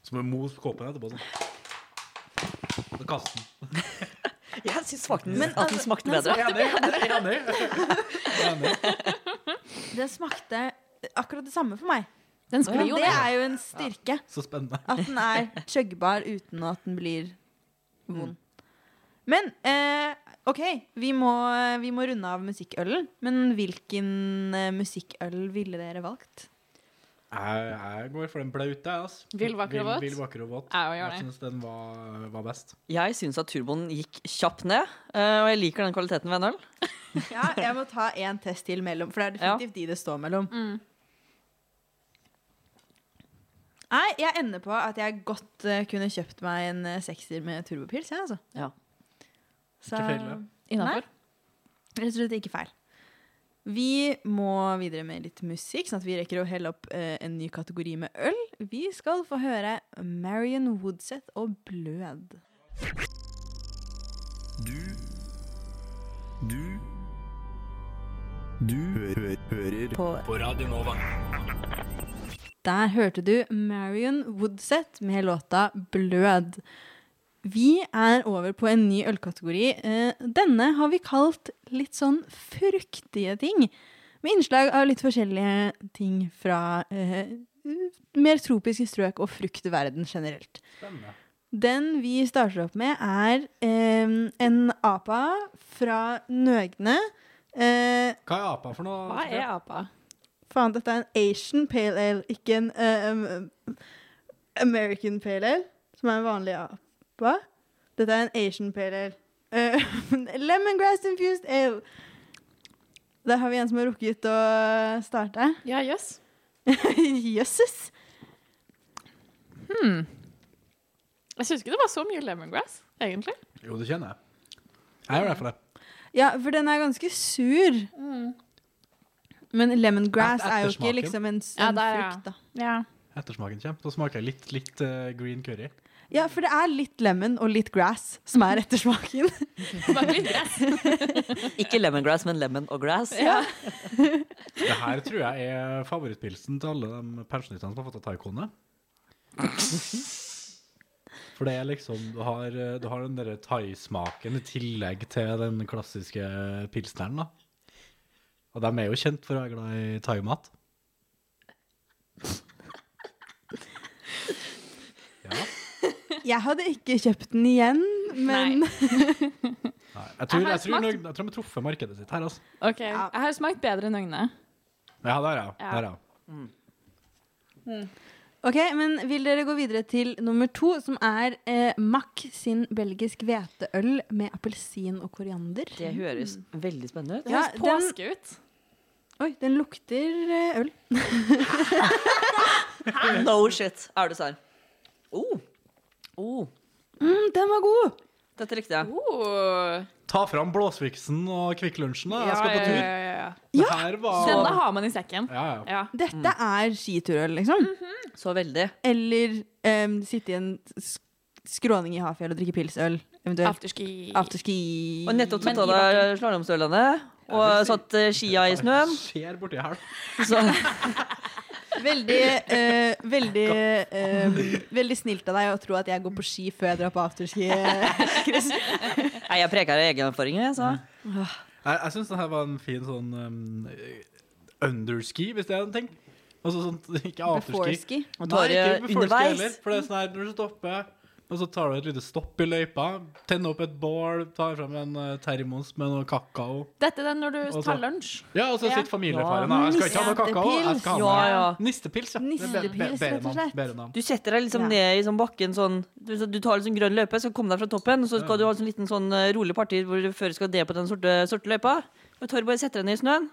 Speaker 6: Som en mos på kåpen etterpå. Sånn. Så kast den.
Speaker 7: Jeg syns faktisk
Speaker 3: Men,
Speaker 7: at den
Speaker 3: altså,
Speaker 7: smakte
Speaker 3: den
Speaker 7: bedre.
Speaker 6: Enig! enig, enig.
Speaker 3: Den smakte akkurat det samme for meg.
Speaker 5: Den sklir
Speaker 3: Men
Speaker 5: jo
Speaker 3: det
Speaker 5: ned.
Speaker 3: er jo en styrke.
Speaker 6: Så spennende.
Speaker 3: At den er chuggbar uten at den blir vond. Men eh, OK, vi må, vi må runde av musikkølen. Men hvilken eh, musikkøl ville dere valgt?
Speaker 6: Jeg, jeg går for den blaute, jeg. Altså.
Speaker 5: Vill, vakker og våt.
Speaker 6: Vill, vakker og våt.
Speaker 5: Jeg gjør
Speaker 6: Jeg
Speaker 5: det.
Speaker 6: syns den var, var best.
Speaker 7: Jeg syns at turboen gikk kjapt ned, eh, og jeg liker den kvaliteten ved en øl.
Speaker 3: Ja, jeg må ta en test til mellom, for det er definitivt de det står mellom. Nei, jeg ender på at jeg godt eh, kunne kjøpt meg en eh, sekser med turbopils, jeg, altså.
Speaker 7: Ja.
Speaker 3: Så-
Speaker 6: Ikke feil, det.
Speaker 5: Innafor.
Speaker 3: Rett og slett ikke feil. Vi må videre med litt musikk, sånn at vi rekker å helle opp eh, en ny kategori med øl. Vi skal få høre Marion Woodseth og Blød.
Speaker 8: Du Du Du hø hører på. Radio Nova.
Speaker 3: Der hørte du Marion Woodseth med låta Blød. Vi er over på en ny ølkategori. Eh, Denne har vi kalt litt sånn fruktige ting. Med innslag av litt forskjellige ting fra eh, mer tropiske strøk og fruktverden generelt.
Speaker 6: Spennende.
Speaker 3: Den vi starter opp med, er eh, en apa fra Nøgne. Eh,
Speaker 6: Hva er apa for noe?
Speaker 5: Hva er apa?
Speaker 3: faen, dette er en Asian pale ale, ikke en eh, um, American pale ale, som er en vanlig apa. Dette er en Asian pale ale. Eh, lemongrass infused ale. Der har vi en som har rukket å starte.
Speaker 5: Ja, jøss.
Speaker 3: Jøsses!
Speaker 5: Jeg syns ikke det var så mye lemongrass, egentlig.
Speaker 6: Jo, det kjenner jeg. Jeg gjør det for det.
Speaker 3: Ja, for den er ganske sur. Mm. Men lemongrass
Speaker 6: Et-
Speaker 3: er jo ikke
Speaker 6: ettersmaken.
Speaker 3: liksom en, s-
Speaker 5: Ja,
Speaker 3: en
Speaker 5: der, ja.
Speaker 3: frukt, da.
Speaker 5: Ja.
Speaker 6: Ettersmaken kommer. Da smaker jeg litt, litt eh, green curry.
Speaker 3: Ja, for det er litt lemon og litt grass som er ettersmaken.
Speaker 5: Smaker litt gress.
Speaker 7: Ikke lemongrass, men lemon og grass.
Speaker 6: Det her tror jeg er favorittpilsen til alle de pensjonistene som har fått av taikoene. For det er liksom Du har, eh, du har den derre thaismaken i tillegg til den klassiske pilsneren, da. Og de er jo kjent for å være glad i thaimat. Ja.
Speaker 3: Jeg hadde ikke kjøpt den igjen, men
Speaker 6: Nei, jeg tror,
Speaker 5: har
Speaker 6: jeg, tror,
Speaker 5: smakt-
Speaker 6: nok- jeg tror de har truffet markedet sitt her, altså.
Speaker 5: OK. Jeg har smakt bedre enn øynene.
Speaker 6: Ja, der, ja.
Speaker 5: Ja.
Speaker 6: Der, ja.
Speaker 3: Ok, men Vil dere gå videre til nummer to, som er eh, Mack sin belgisk hveteøl med appelsin og koriander?
Speaker 7: Det høres veldig spennende ut.
Speaker 3: Ja,
Speaker 5: høres
Speaker 3: den-
Speaker 5: påske ut.
Speaker 3: Oi, den lukter eh, øl.
Speaker 7: No shit, er det serr. Oh. Oh.
Speaker 3: Mm, den var god!
Speaker 7: Dette likte jeg.
Speaker 5: Oh.
Speaker 6: Ta fram Blåsviksen og Kvikk Lunsjen, da.
Speaker 5: Ja,
Speaker 6: Jeg skal
Speaker 5: ja,
Speaker 6: på tur.
Speaker 5: ja, ja, ja.
Speaker 6: Det her var
Speaker 5: Denne har man i sekken.
Speaker 6: ja, ja.
Speaker 5: Ja.
Speaker 7: Mm.
Speaker 3: Dette er skiturøl, liksom.
Speaker 7: Så veldig.
Speaker 3: Eller em, sitte i en sk- skråning i Hafjell og drikke pilsøl, eventuelt.
Speaker 5: Afterski.
Speaker 3: Afterski.
Speaker 7: Og nettopp
Speaker 5: Men
Speaker 7: tatt av
Speaker 5: i
Speaker 7: deg slalåmstøvlene og satt eh, skia i snøen.
Speaker 6: Skjer borti her, da.
Speaker 7: Så
Speaker 3: Veldig, eh, veldig, em, veldig snilt av deg å tro at jeg går på ski før jeg drar på afterski. eh,
Speaker 7: Nei, jeg preker av egen erfaring, jeg, så.
Speaker 6: Jeg, jeg syns det her var en fin sånn um, underski, hvis det er en ting. Altså sånn ikke afterski.
Speaker 3: Beforeski.
Speaker 7: Og tar
Speaker 6: Nei, ikke
Speaker 7: jeg
Speaker 6: beforeski heller,
Speaker 7: underveis.
Speaker 6: For det er sånn her når du stopper, og så tar du et lite stopp i løypa, tenner opp et bål, tar fram en eh, termos med noe kakao.
Speaker 5: Dette er den når du
Speaker 6: Og så-
Speaker 5: tar lunsj.
Speaker 6: Ja, og så
Speaker 5: Ja.
Speaker 6: sitter familiefaren der. Jeg skal ikke ha noe kakao. Jeg skal ha
Speaker 7: Ja,
Speaker 6: meg.
Speaker 7: ja.
Speaker 6: Nistepils, ja. Det er be- be-
Speaker 3: Nistepils, rett
Speaker 6: bedre
Speaker 3: og
Speaker 6: navn,
Speaker 3: slett.
Speaker 6: bedre navn.
Speaker 7: Du setter deg liksom
Speaker 3: Ja.
Speaker 7: ned i sånn bakken sånn Du, så du tar liksom grønn løype, skal komme deg fra toppen, og så skal du ha en sånn liten sånn eh, rolig parti hvor du før skal det på den sorte, sorte løypa. Og tar bare setter deg ned i snøen,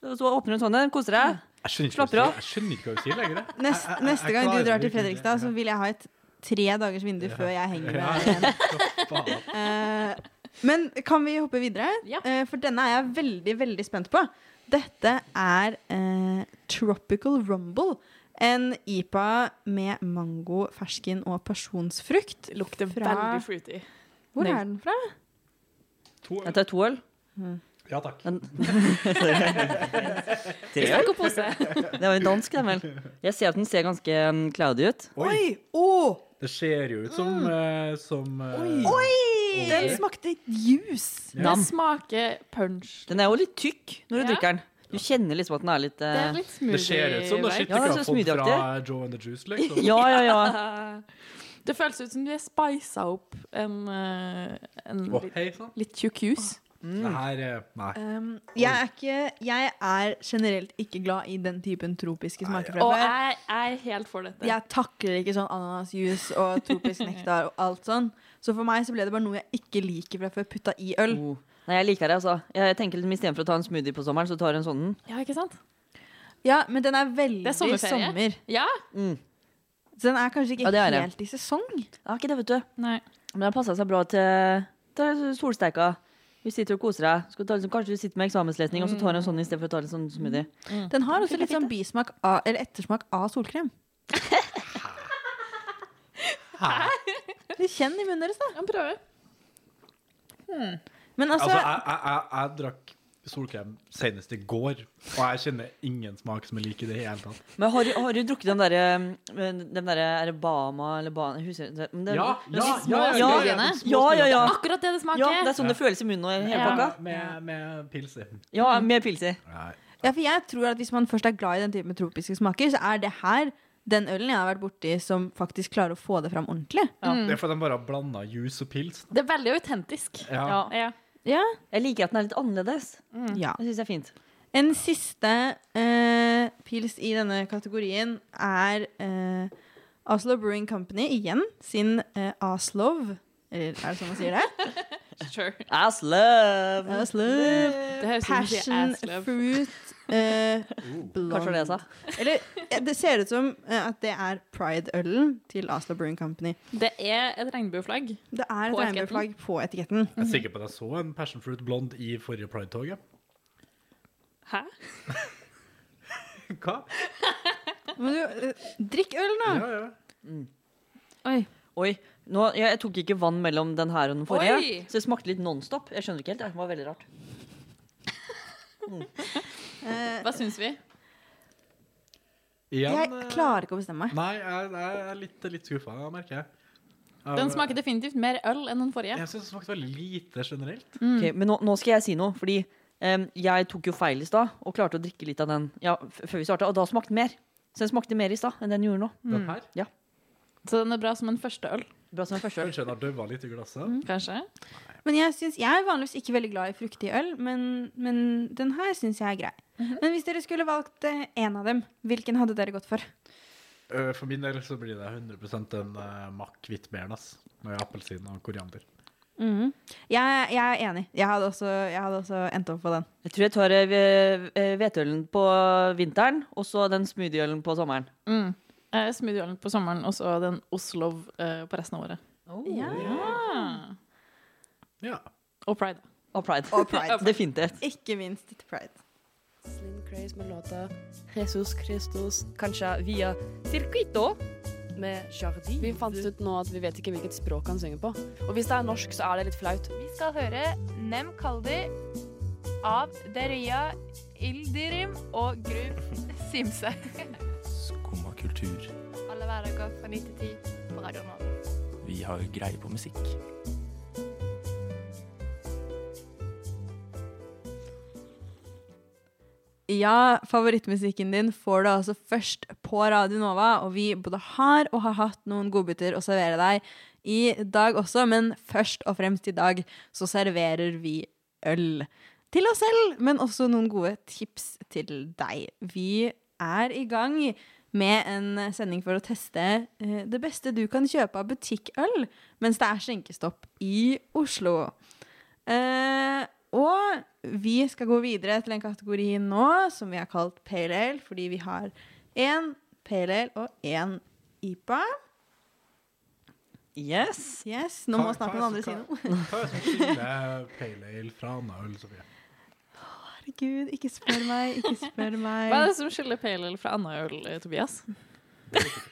Speaker 7: og så åpner du en sånn en, koser deg.
Speaker 6: Jeg skjønner ikke hva du
Speaker 7: Slapper
Speaker 6: sier.
Speaker 7: av.
Speaker 6: Jeg skjønner ikke hva du sier lenger. jeg.
Speaker 3: Nest,
Speaker 6: Jeg- jeg-
Speaker 3: neste
Speaker 6: jeg
Speaker 3: gang du drar
Speaker 6: klarer
Speaker 3: til
Speaker 6: virkelig ikke.
Speaker 3: Fredrikstad, så vil jeg ha et tre dagers vindu før jeg henger med deg igjen.
Speaker 6: Ja. Faen.
Speaker 3: Eh, men kan vi hoppe videre?
Speaker 5: Ja.
Speaker 3: Eh, for denne er jeg veldig, veldig spent på. Dette er eh, Tropical Rumble. En IPA med mango, fersken og pasjonsfrukt.
Speaker 5: Lukter
Speaker 3: Fra-
Speaker 5: veldig fruity.
Speaker 3: Hvor er den fra?
Speaker 6: To øl.
Speaker 7: Jeg tar to øl.
Speaker 6: Ja takk.
Speaker 7: Tre øl? Det var jo dansk, den vel. Jeg ser at den ser ganske mm, cloudy ut.
Speaker 6: Oi!
Speaker 3: Åh!
Speaker 6: Det ser jo ut som, eh, som eh,
Speaker 3: Mm. Oi! Den
Speaker 6: Oi.
Speaker 3: smakte juice.
Speaker 5: Det smaker punch.
Speaker 7: Den er jo litt tykk når du
Speaker 5: Ja.
Speaker 7: drikker den. Du kjenner liksom at den er litt
Speaker 5: Det
Speaker 7: eh,
Speaker 5: er litt
Speaker 6: Det ser ut som det
Speaker 5: smoothie-vibe.
Speaker 6: skittet
Speaker 7: Ja, det
Speaker 6: ikke
Speaker 7: ser
Speaker 6: har fått
Speaker 7: smidigaktig.
Speaker 6: fra Joe and the Juice, liksom.
Speaker 7: Ja, ja, ja.
Speaker 5: Det føles ut som du er spisa opp en, eh, en
Speaker 6: Å,
Speaker 5: litt,
Speaker 6: hei sann.
Speaker 5: litt tjukk jus.
Speaker 6: Det her eh, Nei.
Speaker 3: Um, jeg, er ikke, jeg er generelt ikke glad i den typen tropiske smaker. fra
Speaker 5: Og
Speaker 3: før.
Speaker 5: jeg, jeg er helt for dette.
Speaker 3: Jeg takler ikke sånn ananasjuice og tropisk nektar og alt sånn. Så for meg så ble det bare noe jeg ikke liker fra før putta i øl.
Speaker 7: Oh. Nei, jeg liker det, altså. Jeg tenker litt Istedenfor å ta en smoothie på sommeren, så tar jeg en sånn.
Speaker 5: Ja, ikke sant?
Speaker 3: Ja, men den er veldig
Speaker 5: Det er sommerferie.
Speaker 3: sommer.
Speaker 5: Ja?
Speaker 3: Så den er kanskje ikke
Speaker 7: Ja, det er det.
Speaker 3: helt i sesong.
Speaker 7: Ja, ikke det, vet du.
Speaker 5: Nei.
Speaker 7: Men den passer seg bra til, til solsteika. Du sitter og koser deg. Skal du ta, liksom, kanskje du sitter med eksamenslesning, og så tar du en sånn istedenfor å ta en sånn smoothie.
Speaker 3: Den har også litt sånn bismak av, eller ettersmak av solkrem. Hæ? Kjenn i munnen deres, da.
Speaker 5: Jeg prøver.
Speaker 3: Men
Speaker 6: Altså,
Speaker 3: altså,
Speaker 6: jeg, jeg, jeg, jeg drakk solkrem senest i går, og jeg kjenner ingen smak som er lik i det hele tatt.
Speaker 7: Men har, du- har du drukket den derre Den derre er det Bama eller Bana jeg husker ikke, men det-
Speaker 6: Ja,
Speaker 7: det-
Speaker 6: ja,
Speaker 7: små-
Speaker 6: ja,
Speaker 7: ja,
Speaker 6: ja, ja,
Speaker 7: ja,
Speaker 6: ja,
Speaker 7: ja, ja, ja.
Speaker 5: Akkurat det det
Speaker 7: Ja,
Speaker 5: smaker.
Speaker 7: det er sånn det føles i munnen og i hele
Speaker 5: Ah, Ja.
Speaker 7: pakka.
Speaker 6: Med, med pils i.
Speaker 7: Ja, med pils i.
Speaker 3: ja, for jeg tror at hvis man først er glad i den typen tropiske smaker, så er det her den ølen jeg har vært borti som faktisk klarer å få det fram ordentlig.
Speaker 6: Det er fordi de bare har blanda juice og pils.
Speaker 5: Det er veldig autentisk.
Speaker 6: Ja.
Speaker 5: Ja.
Speaker 3: Ja.
Speaker 7: Jeg liker at den er litt annerledes.
Speaker 3: ja.
Speaker 7: Det syns jeg er fint.
Speaker 3: En siste eh, pils i denne kategorien er eh, Oslo Brewing Company igjen sin eh, Aslov. Eller er det sånn man sier det?
Speaker 5: Sure.
Speaker 7: Ass love!
Speaker 3: Aslov.
Speaker 5: Det høres ut som du sier
Speaker 3: Passion
Speaker 5: ass love.
Speaker 3: fruit eh,
Speaker 7: Kanskje det var det jeg sa.
Speaker 3: Eller eh, det ser ut som eh, at det er Pride-ølen til Oslo Brewing Company.
Speaker 5: Det er et regnbueflagg.
Speaker 3: Det er et
Speaker 5: På etiketten.
Speaker 3: regnbueflagg på etiketten.
Speaker 6: Jeg er sikker på at jeg så en passion fruit blond i forrige Pride-toget.
Speaker 5: Hæ?
Speaker 6: Hva?
Speaker 3: Men du, eh, drikk øl, nå!
Speaker 6: Ja, ja.
Speaker 3: Oi.
Speaker 7: Oi, nå, jeg, jeg tok ikke vann mellom den her og den forrige,
Speaker 5: Oi!
Speaker 7: så det smakte litt nonstop. Jeg skjønner ikke helt. Det var veldig rart.
Speaker 5: Eh, Hva syns vi?
Speaker 6: Igjen,
Speaker 3: Jeg
Speaker 6: eh,
Speaker 3: klarer ikke å bestemme meg.
Speaker 6: Nei, jeg, jeg er litt, litt skuffa, merker jeg. Jeg-
Speaker 5: Den smaker definitivt mer øl enn den forrige.
Speaker 6: Jeg syns den smakte veldig lite generelt.
Speaker 7: Ok, men nå, nå skal jeg si noe, fordi em, jeg tok jo feil i stad og klarte å drikke litt av den ja, f- før vi starta, og da smakte den mer. Så den smakte mer i stad enn den gjorde nå.
Speaker 6: Den her.
Speaker 5: Så den er bra som en første øl,
Speaker 7: Bra som en første øl.
Speaker 6: Kanskje den har døva litt i glasset.
Speaker 5: kanskje?
Speaker 3: Men jeg, syns, jeg er vanligvis ikke veldig glad i fruktig øl, men, men eh, den her syns jeg er grei. Men hvis dere skulle valgt én av dem, hvilken hadde dere gått for?
Speaker 6: Eh, For min del så blir det 100 en uh, makk hvitbæren ass, med appelsin og koriander.
Speaker 3: Mhm. jeg, jeg er enig. Jeg hadde, også, jeg hadde også endt opp på den.
Speaker 7: Jeg tror jeg tar eh, ve- eh, hveteølen på vinteren, og så den smoothieølen på sommeren.
Speaker 5: Mm. Eh, Smoothieølen på sommeren, og så den Oslo eh, på resten av året.
Speaker 3: Ja.
Speaker 5: Ja.
Speaker 6: Ja.
Speaker 5: Og Pride.
Speaker 7: Og pride.
Speaker 3: Og pride.
Speaker 7: Definitivt.
Speaker 3: Ikke minst til pride.
Speaker 11: Slim Craze med låta Jesus Christus, kanskje via Circuito med Jardin. Vi fant ut nå at vi vet ikke hvilket språk han synger på. Og hvis det er norsk, så er det litt flaut.
Speaker 10: Vi skal høre Nem Kaldi av Deria Ildirim og Grub Simse.
Speaker 12: Skumma kultur.
Speaker 10: Alle hverdager fra 9 til 10 på Radio Nova.
Speaker 12: Vi har greie på musikk.
Speaker 3: Ja, favorittmusikken din får du altså først på Radio Nova, og vi både har og har hatt noen godbiter å servere deg i dag også, men først og fremst i dag så serverer vi øl. Til oss selv, men også noen gode tips til deg. Vi er i gang med en sending for å teste eh, det beste du kan kjøpe av butikkøl mens det er skjenkestopp i Oslo. Eh, og vi skal gå videre til en kategori nå som vi har kalt pale ale, fordi vi har én pale ale og én IPA.
Speaker 7: Yes.
Speaker 3: Nå må
Speaker 6: Hva-
Speaker 3: snart
Speaker 6: hva er
Speaker 3: noen andre si
Speaker 6: som-
Speaker 3: noe.
Speaker 6: hva- Hva er det som skiller pale ale fra annen øl, Sofie?
Speaker 3: Herregud, ikke spør meg, ikke spør meg.
Speaker 5: Hva er det som skiller pale ale fra annen øl, eh, Tobias?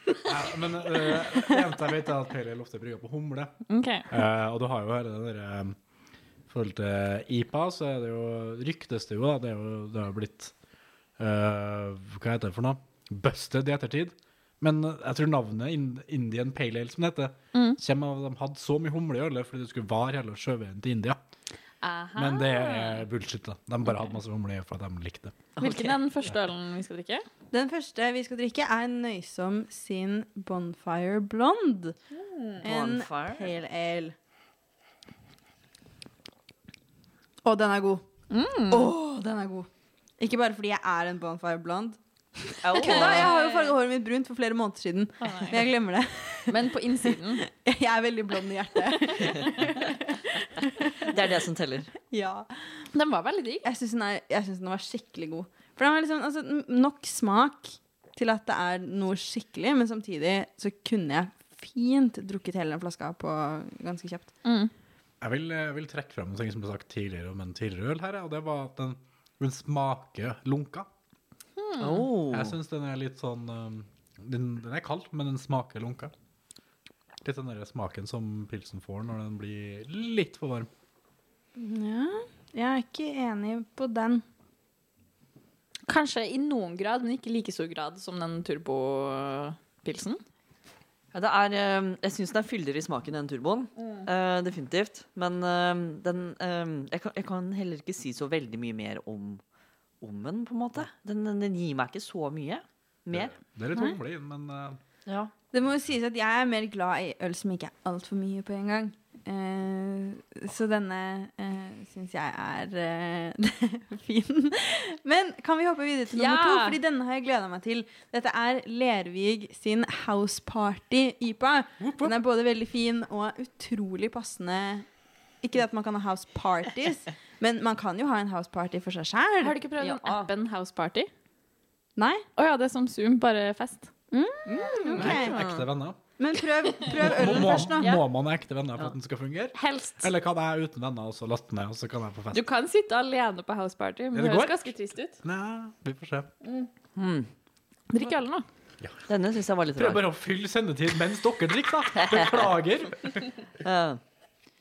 Speaker 6: Ja, men eh, det eneste jeg vet, er at pale ale ofte er brygga på humle.
Speaker 5: Ok.
Speaker 6: Eh, og du har jo her den derre eh, I forhold til IPA, så er det jo Ryktes det jo, da. Det, er jo, det har jo blitt eh, Hva heter det for noe? Busted i ettertid. Men eh, jeg tror navnet Ind- Indian Pale Ale, som det heter,
Speaker 5: Mm.
Speaker 6: kommer av at de hadde så mye humle i ølet fordi det skulle vare hele sjøveien til India.
Speaker 5: Aha.
Speaker 6: Men det er bullshit, da. De bare hadde masse humle i ølet fordi de likte det.
Speaker 5: Hvilken er den første ølen vi skal drikke?
Speaker 3: Den første vi skal drikke, er Nøysom sin Bonfire Blonde. En
Speaker 7: Bonfire.
Speaker 3: pale ale. Og den er god. Å, den er god. Ikke bare fordi jeg er en Bonfire Blonde.
Speaker 7: Au.
Speaker 3: Jeg kødda! Jeg har jo farga håret mitt brunt for flere måneder siden. Men jeg glemmer det.
Speaker 5: Men på innsiden?
Speaker 3: Jeg er veldig blond i hjertet.
Speaker 7: Det er det som teller.
Speaker 3: Ja.
Speaker 5: Den var veldig digg.
Speaker 3: Jeg syns den, er- jeg synes den var skikkelig god. For den var liksom altså, n- nok smak til at det er noe skikkelig, men samtidig så kunne jeg fint drukket hele den flaska på ganske kjapt.
Speaker 6: Jeg vil, eh, jeg vil trekke fram noe som ble sagt tidligere om en tidligere øl her, og det var at den, den smaker lunka.
Speaker 7: Oh.
Speaker 6: Jeg syns den er litt sånn um, den, den er kald, men den smaker lunka. Litt den der smaken som pilsen får når den blir litt for varm.
Speaker 3: Ja, jeg er ikke enig på den.
Speaker 5: Kanskje i noen grad, men ikke i like stor grad som den turbopilsen.
Speaker 7: Ja, det er, eh, jeg syns den er fyldigere i smaken enn turboen. Eh, definitivt. Men eh, den eh, jeg, kan, jeg kan heller ikke si så veldig mye mer om, om den, på en måte. Den, den, den gir meg ikke så mye mer.
Speaker 6: Det er litt
Speaker 3: Nei.
Speaker 6: humle i den, men uh,
Speaker 7: Ja.
Speaker 3: Det må jo sies at jeg er mer glad i øl som ikke er altfor mye på en gang. Eh, så denne uh, syns jeg er eh, fin. Men kan vi hoppe videre til nummer
Speaker 5: Ja!
Speaker 3: to? Fordi denne har jeg gleda meg til. Dette er Lervig sin House Party IPA. Den er både veldig fin og utrolig passende. Ikke det at man kan ha house parties, men man kan jo ha en house party for seg sjæl.
Speaker 5: Har du ikke prøvd den appen House Party?
Speaker 3: Nei?
Speaker 5: Å ja, det er som Zoom, bare fest.
Speaker 3: Ok.
Speaker 6: ek- ekte venner.
Speaker 3: Men prøv, prøv
Speaker 6: Må,
Speaker 3: ølen
Speaker 6: må,
Speaker 3: først, nå.
Speaker 6: må man ha ekte venner for at den skal fungere?
Speaker 5: Helst.
Speaker 6: Eller kan jeg uten venner og så laste ned, og så kan jeg på
Speaker 5: Du
Speaker 6: fest?
Speaker 5: kan sitte alene på House Party, men
Speaker 6: Ja,
Speaker 5: det
Speaker 6: det
Speaker 5: høres
Speaker 6: går.
Speaker 5: ganske trist ut.
Speaker 6: Nei, vi får se.
Speaker 7: Hmm.
Speaker 5: Drikk øl nå.
Speaker 7: Denne syns jeg var litt
Speaker 6: Prøv
Speaker 7: rar.
Speaker 6: bare å fylle sendetid mens dere drikker, da. Beklager.
Speaker 7: Eh,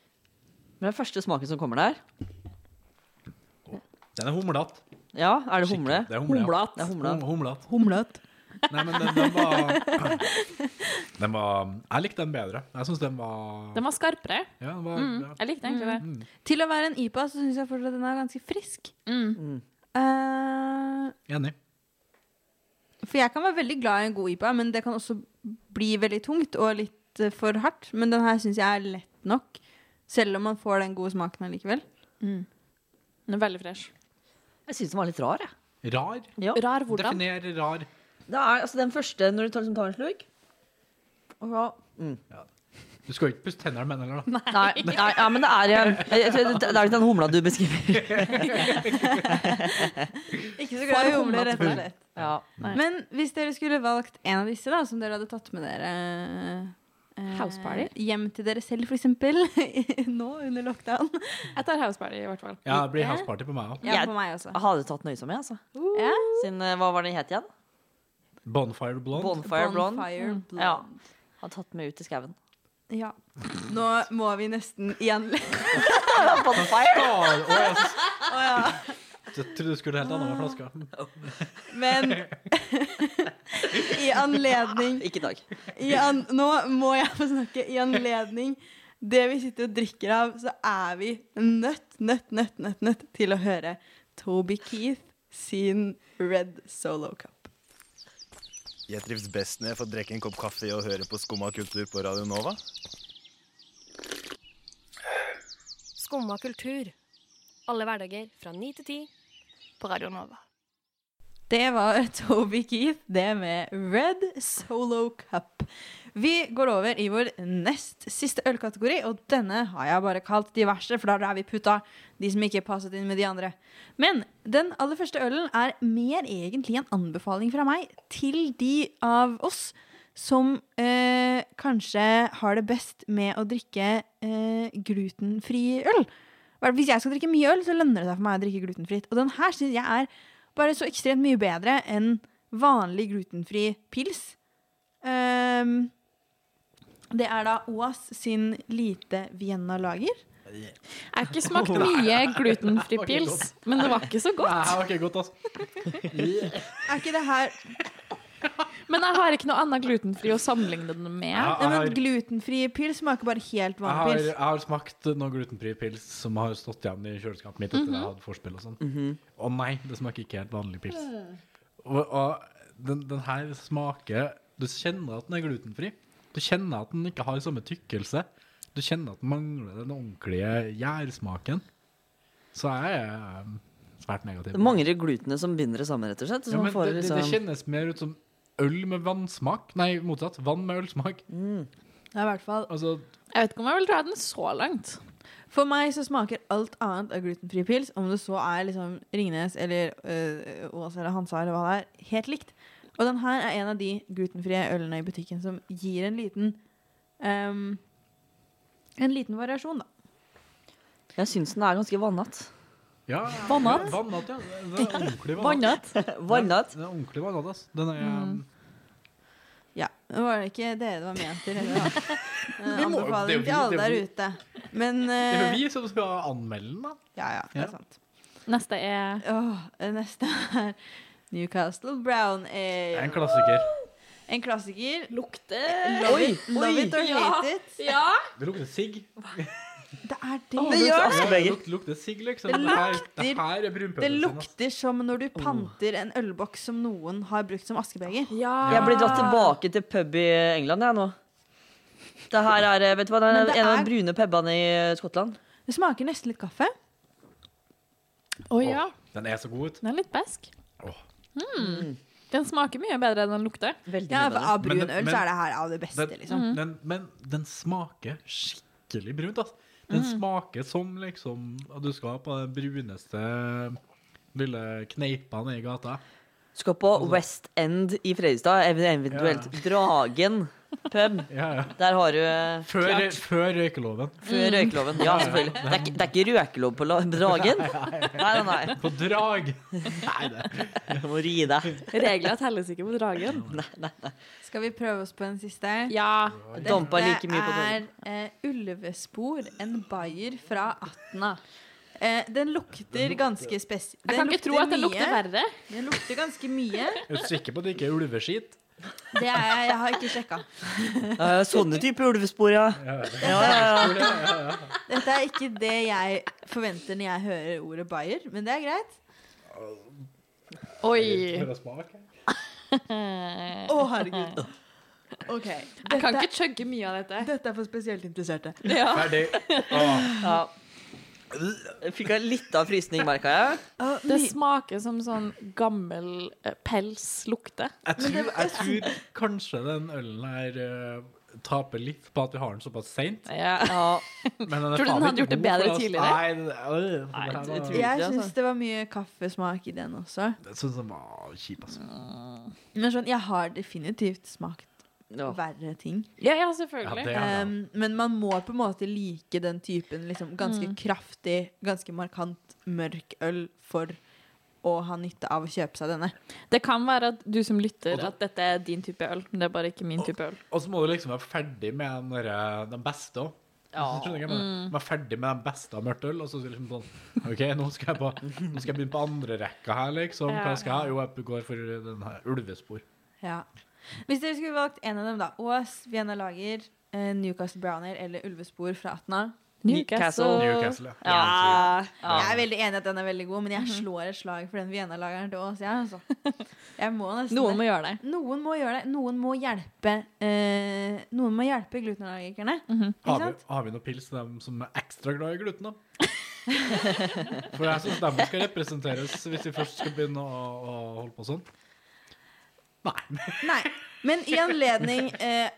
Speaker 7: men den første smaken som kommer der
Speaker 6: Den er humlete.
Speaker 7: Ja, er det humle?
Speaker 6: Skikkelig, det er humle, ja.
Speaker 7: Humlat. Det er humle.
Speaker 6: Hum- Humlet. Nei, men den, den var Den var Jeg likte den bedre. Jeg syns den var
Speaker 5: Den var skarpere.
Speaker 6: Ja, den var
Speaker 5: Mm,
Speaker 6: ja.
Speaker 5: jeg likte egentlig det.
Speaker 3: Til å være en IPA så syns jeg fortsatt at den er ganske frisk.
Speaker 5: Mm.
Speaker 3: Eh,
Speaker 6: Enig.
Speaker 3: for jeg kan være veldig glad i en god IPA, men det kan også bli veldig tungt og litt eh, for hardt. Men den her syns jeg er lett nok, selv om man får den gode smaken allikevel.
Speaker 5: Den er veldig fresh.
Speaker 7: Jeg syns den var litt rar, jeg.
Speaker 6: Rar.
Speaker 7: Ja.
Speaker 5: Rar hvordan?
Speaker 6: Definer rar.
Speaker 13: Det er altså den første når du tar, liksom, tar en slurk. Og så
Speaker 6: Du skal jo ikke pusse tennene med den, eller? da?
Speaker 13: Nei.
Speaker 7: Mm. Nei, ja, men det er ehm, jeg, jeg, tror det, det er litt den humla du beskriver.
Speaker 3: Ikke så
Speaker 7: For
Speaker 3: glad i
Speaker 7: humla,
Speaker 3: humler, rett og
Speaker 7: selvfølgelig.
Speaker 3: slett.
Speaker 7: Ja. Nei.
Speaker 3: Men hvis dere skulle valgt en av disse, da, som dere hadde tatt med dere eh,
Speaker 5: Houseparty?
Speaker 3: hjem til dere selv, for eksempel, nå under lockdown
Speaker 5: Jeg tar houseparty, i hvert fall.
Speaker 6: Ja, det blir houseparty på meg òg.
Speaker 3: Ja, på meg også.
Speaker 7: Jeg hadde tatt nøysom, jeg, altså.
Speaker 3: Ja.
Speaker 7: Siden, eh, hva var det den het igjen?
Speaker 6: Bonfire blonde.
Speaker 7: Bonfire Blonde.
Speaker 3: Bonfire
Speaker 7: Mm.
Speaker 3: Blonde.
Speaker 7: Ja. Har tatt meg ut i skauen.
Speaker 3: Ja. Nå må vi nesten igjen
Speaker 6: Skal- Å, jeg s-
Speaker 3: Å, ja.
Speaker 6: jeg trodde du skulle helt annet med flaska.
Speaker 3: Men i anledning
Speaker 7: Ikke i dag.
Speaker 3: I an nå må jeg få snakke i anledning det vi sitter og drikker av, så er vi nødt, nødt, nødt, nødt, nødt til å høre Toby Keith sin Red Solo Cup.
Speaker 8: Jeg trives best når jeg får drikke en kopp kaffe og høre på Skumma kultur på Radio Nova.
Speaker 14: Skumma kultur. Alle hverdager fra ni til ti på Radio Nova.
Speaker 3: Det var Toby Keith, det med Red Solo Cup. Vi går over i vår nest siste ølkategori, og denne har jeg bare kalt de verste, for da er vi putta de som ikke passet inn med de andre. Men den aller første ølen er mer egentlig en anbefaling fra meg til de av oss som eh, kanskje har det best med å drikke eh, glutenfri øl. Hver- Hvis jeg skal drikke mye øl, så lønner det seg for meg å drikke glutenfritt. Og den her syns jeg er bare så ekstremt mye bedre enn vanlig glutenfri pils. Ehm, det er da Oas sin lite Vienna-lager.
Speaker 5: Jeg har ikke smakt mye glutenfri pils, men det var ikke så
Speaker 6: Nei, det var
Speaker 5: godt.
Speaker 6: ikke godt, altså.
Speaker 3: Er ikke det her
Speaker 5: Men jeg har ikke noe annet glutenfri å sammenligne den med.
Speaker 6: Jeg-
Speaker 3: Nei,
Speaker 6: jeg
Speaker 3: men
Speaker 6: har-
Speaker 3: Glutenfri pils smaker bare helt
Speaker 6: Jeg har,
Speaker 3: vanlig pils.
Speaker 6: jeg har smakt noe glutenfri pils som har stått igjen i kjøleskapet mitt etter
Speaker 3: Mhm.
Speaker 6: jeg hadde forspill og sånn.
Speaker 7: Mhm.
Speaker 6: Å nei, det smaker ikke helt vanlig pils. Og, og den, den her smaker Du kjenner at den er glutenfri. Du kjenner at den ikke har samme tykkelse. Du kjenner at den mangler den ordentlige gjærsmaken. Så jeg er um, svært negativ.
Speaker 7: Det mangler glutenet som binder det sammen, rett og slett. Så
Speaker 6: Ja,
Speaker 7: man
Speaker 6: men
Speaker 7: får
Speaker 6: det, det, det
Speaker 7: liksom-
Speaker 6: kjennes mer ut som øl med vannsmak. Nei, motsatt. Vann med ølsmak.
Speaker 3: Det er i hvert fall
Speaker 6: Altså,
Speaker 3: Jeg vet ikke om jeg vil dra den så langt. For meg så smaker alt annet av glutenfri pils, om det så er liksom Ringnes eller øh, Ås eller Hansa eller hva det er, helt likt. Og den her er en av de glutenfrie ølene i butikken som gir en liten ehm, En liten variasjon, da.
Speaker 7: Jeg syns den er ganske vannete.
Speaker 6: Ja,
Speaker 7: Vannat?
Speaker 6: Vannat, ja. Den er ordentlig
Speaker 7: Vannat. Vannat.
Speaker 6: Den er ordentlig vannat, ass. Den er, um,
Speaker 3: Ja. Det var det ikke dere det var ment til heller, da. Eh,
Speaker 6: Vi må- det er jo
Speaker 3: Anbefaling
Speaker 6: vi-
Speaker 3: til alle
Speaker 6: det er
Speaker 3: der
Speaker 6: jo vi.
Speaker 3: ute. Men
Speaker 6: Det er
Speaker 3: eh,
Speaker 6: jo vi som skal anmelde den, da.
Speaker 3: Ja, ja, det
Speaker 6: Ja.
Speaker 3: er sant.
Speaker 5: Neste er
Speaker 3: Åh, Neste er Newcastle Brown Ale.
Speaker 6: Det er en klassiker.
Speaker 3: En klassiker. Eh,
Speaker 13: Lukter
Speaker 3: Love
Speaker 6: Oi,
Speaker 3: it, love
Speaker 6: oi.
Speaker 3: it or
Speaker 6: Ja,
Speaker 3: hate it.
Speaker 6: Det lukter sigg.
Speaker 3: Det er det.
Speaker 6: Åh, lukter askebeger. Ja, lukter- lukter sigg, liksom.
Speaker 3: Det
Speaker 6: Det her-
Speaker 3: lukter-
Speaker 6: det her er brunpølsen,
Speaker 3: Det
Speaker 6: ass.
Speaker 3: lukter som når du panter en ølboks som noen har brukt som askebeger.
Speaker 7: Jeg blir dratt tilbake til pub i England, jeg nå. Det her er eh, vet du hva, det
Speaker 3: Men
Speaker 7: er
Speaker 3: det
Speaker 7: en av
Speaker 3: er-
Speaker 7: de brune pubene i eh, Skottland.
Speaker 3: Det smaker nesten litt kaffe.
Speaker 5: Å ja.
Speaker 6: Den er så god ut.
Speaker 5: Den er litt besk. Mm. Den smaker mye bedre enn den lukter.
Speaker 3: Ja, for av brun
Speaker 6: Men den-
Speaker 3: øl så
Speaker 6: men-
Speaker 3: er det her av det beste,
Speaker 6: den,
Speaker 3: liksom.
Speaker 6: Den, men den smaker skikkelig brunt, ass. Den
Speaker 3: Mm.
Speaker 6: smaker som liksom at du skal på den bruneste um, lille kneipa nede i gata.
Speaker 7: Skal på West End i Fredrikstad, ev- eventuelt Dragen pub. Der har du eh,
Speaker 6: Før,
Speaker 7: klart.
Speaker 6: før røykeloven.
Speaker 7: Før røykeloven. Mm. Ja, selvfølgelig. Det er, ikke- det er ikke røykelov på la- Dragen. Nei, nei, nei.
Speaker 6: På drag.
Speaker 7: Nei, det Jeg må ri deg.
Speaker 5: Regler telles ikke på dragen.
Speaker 3: Skal vi prøve oss på en siste?
Speaker 5: Ja.
Speaker 7: Dampa like mye på
Speaker 3: er eh, Ulvespor, en bayer fra Atna. Eh, den lukter ganske spes...
Speaker 5: Jeg kan ikke tro at den lukter verre.
Speaker 3: Den lukter ganske mye.
Speaker 6: Er du sikker på at det ikke er ulveskit?
Speaker 3: Det er jeg, jeg har ikke sjekka.
Speaker 7: Eh, Sånne type ulvespor, ja. Ja, ja, ja.
Speaker 3: Dette er ikke det jeg forventer når jeg hører ordet bayer, men det er greit.
Speaker 5: Oi.
Speaker 3: Å, herregud. Ok.
Speaker 5: Jeg kan ikke chugge mye av dette.
Speaker 6: Ah.
Speaker 3: Dette er for spesielt interesserte.
Speaker 5: Ja.
Speaker 6: Ferdig.
Speaker 3: Ja.
Speaker 7: Fikk jeg litt av frysning, merka jeg.
Speaker 5: Det smaker som sånn gammel eh, pels lukter.
Speaker 6: Jeg tror, jeg tror kanskje den ølen her eh, taper litt på at vi har den såpass seint. Men den er
Speaker 5: Tror du den
Speaker 6: faen
Speaker 5: hadde
Speaker 6: ikke
Speaker 5: gjort
Speaker 6: god
Speaker 5: det
Speaker 6: for
Speaker 5: bedre
Speaker 6: oss.
Speaker 5: tidligere?
Speaker 6: Nei, den- øh,
Speaker 5: Nei,
Speaker 6: den her
Speaker 5: jeg
Speaker 6: var-
Speaker 5: tror
Speaker 3: Jeg syns det var mye kaffesmak i den også.
Speaker 6: Jeg syns den var kjip, altså.
Speaker 3: Men sånn, jeg har definitivt smakt
Speaker 6: Ja.
Speaker 3: verre ting.
Speaker 5: Ja, ja, selvfølgelig. Um,
Speaker 6: Ja, det har jeg.
Speaker 3: Ehm, men man må på en måte like den typen liksom, ganske
Speaker 5: Mm.
Speaker 3: kraftig, ganske markant mørk øl for å ha nytte av å kjøpe seg denne.
Speaker 5: Det kan være at du som lytter, at dette er din type øl, men det er bare ikke min type øl.
Speaker 6: Og så må du liksom være ferdig med den, derre- den beste òg.
Speaker 5: Ja. Mm.
Speaker 6: Være ferdig med den beste av mørkt øl, og så liksom sånn OK, nå skal jeg, på, nå skal jeg begynne på andre rekka her, liksom. Hva
Speaker 3: Ja.
Speaker 6: skal jeg ha? Jo, jeg går for den her ulvespor.
Speaker 3: Ja. Hvis dere skulle valgt en av dem, da. Ås, Vienna Lager, eh, Newcastle Browner eller Ulvespor fra Atna.
Speaker 7: Newcastle.
Speaker 6: Newcastle,
Speaker 7: ja.
Speaker 3: Ja.
Speaker 7: Ja.
Speaker 3: Jeg er veldig enig i at den er veldig god, men jeg slår et slag for den Vienna-lageren til Ås. Jeg, altså. jeg må nesten
Speaker 5: Noen må gjøre det.
Speaker 3: Noen må gjøre det. Noen må hjelpe, eh, noen må hjelpe glutenallergikerne. Ikke
Speaker 6: Har vi,
Speaker 3: sant?
Speaker 6: har vi noe pils til dem som er ekstra glad i gluten, da? For jeg syns dem skal representeres hvis vi først skal begynne å, å holde på sånn.
Speaker 3: Nei. Men i anledning eh,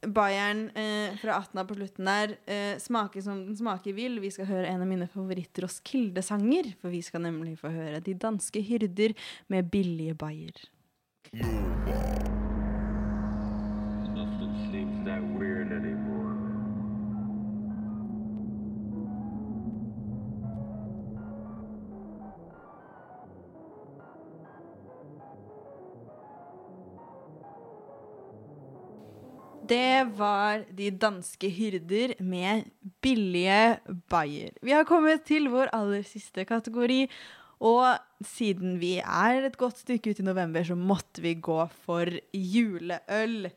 Speaker 3: Bayern eh, fra Atna på slutten der eh, smaker som den smaker vil. Vi skal høre en av mine favoritt-Roskilde-sanger. For vi skal nemlig få høre De danske hyrder med billige bayer.
Speaker 15: Nothing seems that weird anymore.
Speaker 3: Det var De danske hyrder med billige bayer. Vi har kommet til vår aller siste kategori. Og siden vi er et godt stykke ut i november, så måtte vi gå for juleøl.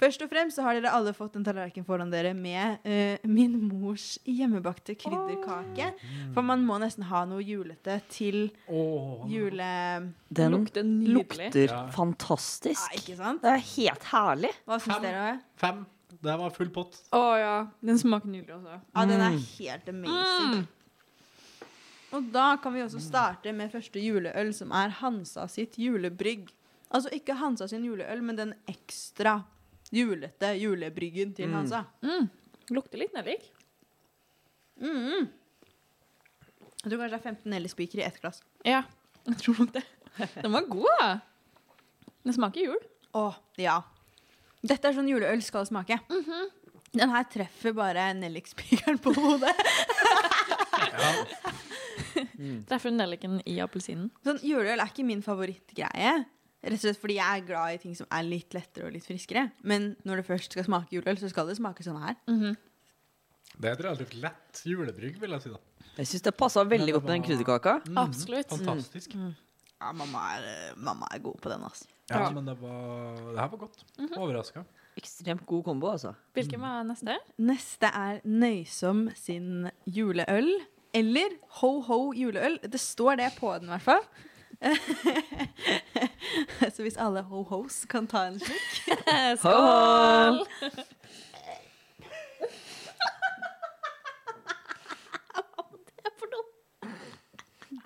Speaker 3: Først og fremst så har dere alle fått en tallerken foran dere med eh, min mors hjemmebakte krydderkake. For man må nesten ha noe julete til jule...
Speaker 7: Den
Speaker 3: lukter nydelig.
Speaker 7: lukter
Speaker 6: Ja.
Speaker 7: fantastisk.
Speaker 3: Ja, ikke sant?
Speaker 7: Det er helt herlig.
Speaker 3: Hva syns
Speaker 6: Fem.
Speaker 3: dere?
Speaker 6: Fem. Det var full pott.
Speaker 5: Å ja. Den smaker nydelig også. Mm.
Speaker 3: Ja, den er
Speaker 6: Mm.
Speaker 3: helt amazing. Og da kan vi også starte med første juleøl, som er Hansa sitt julebrygg. Altså ikke Hansa sin juleøl, men den ekstra julete julebryggen til
Speaker 5: Mm.
Speaker 3: Hansa.
Speaker 5: Lukter litt nellik.
Speaker 3: Mm. Jeg tror kanskje det er 15 nellispiker i ett glass.
Speaker 5: Ja, jeg tror nok det. Den var god, da. Den smaker jul.
Speaker 3: Å, ja. Dette er sånn juleøl skal smake. Mhm. Den her treffer bare nellikspikeren på hodet.
Speaker 5: Treffer nelliken i appelsinen.
Speaker 3: Sånn, Juleøl er ikke min favorittgreie. Rett og slett fordi jeg er glad i ting som er litt lettere og litt friskere. Men når det først skal smake juleøl, så skal det smake sånn her.
Speaker 5: Mhm.
Speaker 6: Det er et relativt lett julebrygg, vil jeg si, da. Mm,
Speaker 7: Jeg syns det passa veldig godt med den krydderkaka.
Speaker 5: Absolutt.
Speaker 6: Fantastisk.
Speaker 3: Ja, mamma er, eh, mamma er god på den, altså.
Speaker 6: Ja, men det, var, det her var godt.
Speaker 5: Mhm.
Speaker 6: Overraska.
Speaker 7: Ekstremt god kombo, altså.
Speaker 5: Hvilken var neste?
Speaker 3: Neste er Nøysom sin juleøl. Eller Ho Ho juleøl. Det står det på den, i hvert fall. så hvis alle ho-hos kan ta en slurk
Speaker 5: Skål!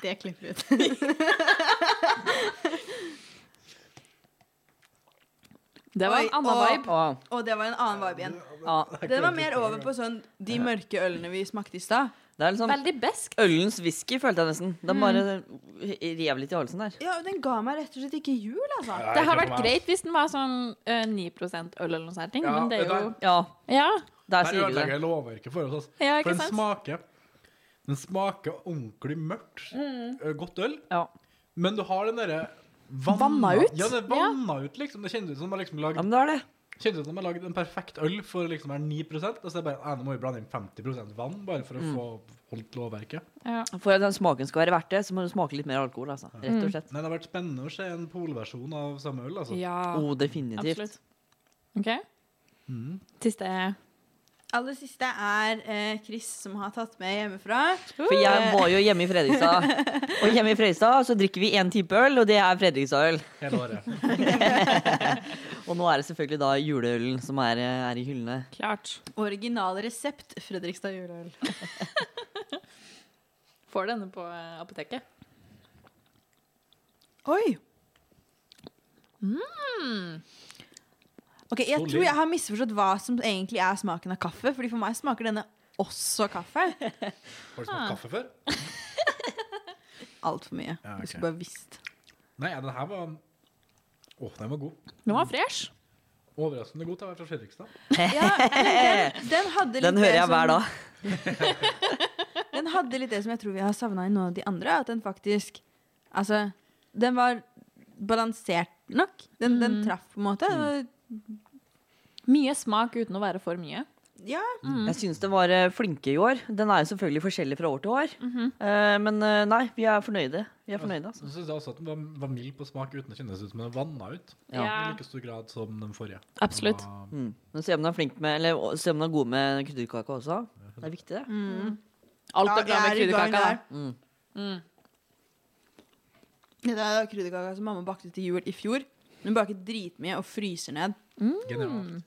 Speaker 3: Det klipper vi ut.
Speaker 5: Det var
Speaker 3: Oi,
Speaker 5: en annen
Speaker 3: og-
Speaker 5: vibe.
Speaker 3: Og det var en annen vibe igjen. Den var mer over på sånn de mørke ølene vi smakte i stad.
Speaker 7: Det er liksom
Speaker 3: Veldig besk.
Speaker 7: Ølens whisky, følte jeg nesten. Den
Speaker 3: Mm.
Speaker 7: bare rev litt i halsen der.
Speaker 3: Ja, og den ga meg rett og slett ikke jul, altså.
Speaker 7: Nei,
Speaker 5: Det har
Speaker 7: ikke for
Speaker 5: vært
Speaker 7: meg.
Speaker 5: greit hvis den var sånn eh, 9 øl eller noe sånt. ting,
Speaker 6: Ja,
Speaker 5: men det er jo
Speaker 6: det
Speaker 7: Ja.
Speaker 5: ja.
Speaker 6: Der ødelegger jeg lovverket for oss. Altså.
Speaker 5: Ja, ikke
Speaker 6: for den
Speaker 5: sant?
Speaker 6: smaker Den smaker ordentlig mørkt
Speaker 5: Mm.
Speaker 6: ø, godt øl, men du har den derre vanna-
Speaker 5: Vanna ut?
Speaker 6: Ja, det er vanna ut, liksom. Det kjennes ut som de har liksom lagd Kjennes ut som de har lagd en perfekt øl for liksom er 9 og så er det bare «Ah, nå må vi blande inn 50 vann bare for å
Speaker 7: Mm.
Speaker 6: få holdt lovverket.
Speaker 7: For at den smaken skal være verdt det, så må du smake litt mer alkohol. Altså. Rett og slett.
Speaker 6: Nei, det har vært spennende å se en polversjon av samme øl, altså.
Speaker 5: Ja.
Speaker 7: Oh, definitivt.
Speaker 5: Absolutt. OK.
Speaker 6: Mm.
Speaker 5: Siste
Speaker 3: Aller siste er eh, Chris som har tatt med hjemmefra.
Speaker 7: For jeg var jo hjemme i Fredrikstad. Og hjemme i Fredrikstad så drikker vi én type øl, og det er Fredrikstad-øl.
Speaker 6: Hele året.
Speaker 7: og nå er det selvfølgelig da juleølen som er, er i hyllene.
Speaker 3: Eh,
Speaker 5: Klart.
Speaker 3: Original resept Fredrikstad juleøl.
Speaker 5: Får denne på eh, apoteket.
Speaker 3: Oi!
Speaker 5: Mm.
Speaker 3: Ok, Jeg
Speaker 5: Solid.
Speaker 3: tror jeg har misforstått hva som egentlig er smaken av kaffe. Fordi For meg smaker denne også kaffe.
Speaker 6: Har du smakt kaffe før?
Speaker 3: Altfor mye.
Speaker 6: Ja, ok.
Speaker 3: Du skulle bare visst.
Speaker 6: Nei, ja, den her var Å, den var god.
Speaker 5: Den var fresh.
Speaker 6: Overraskende god til å være fra Fredrikstad.
Speaker 3: Ja, men den, den hadde litt sånn-
Speaker 7: Den hører
Speaker 3: det
Speaker 7: jeg
Speaker 3: som-
Speaker 7: hver dag.
Speaker 3: Den hadde litt det som jeg tror vi har savna i noen av de andre. At den faktisk Altså, den var balansert nok. Den, den traff på en måte.
Speaker 5: Mm.
Speaker 3: Det
Speaker 5: Mye smak uten å være for mye.
Speaker 3: var- Ja.
Speaker 7: Jeg syns den var eh, flinke i år. Den er jo selvfølgelig forskjellig fra år til år. Eh, Men eh, nei, vi er fornøyde. Vi er fornøyde altså.
Speaker 6: Så synes jeg også at den var, var mild på smak uten å kjennes ut som den vanna ut.
Speaker 7: Ja.
Speaker 6: I like stor grad som den forrige.
Speaker 5: Absolutt.
Speaker 7: Mm. Men se om den er flink med Eller å, se om den er god med krydderkake også. Det er viktig, det.
Speaker 3: Mm.
Speaker 5: Alt
Speaker 3: Ja,
Speaker 5: er
Speaker 3: jeg er
Speaker 5: bra med
Speaker 3: i gang
Speaker 5: krydderkaka. da.
Speaker 7: Mm.
Speaker 5: Mm.
Speaker 3: Det er krydderkaka som mamma bakte til jul i fjor. Hun baker dritmye og fryser ned.
Speaker 6: Genialt.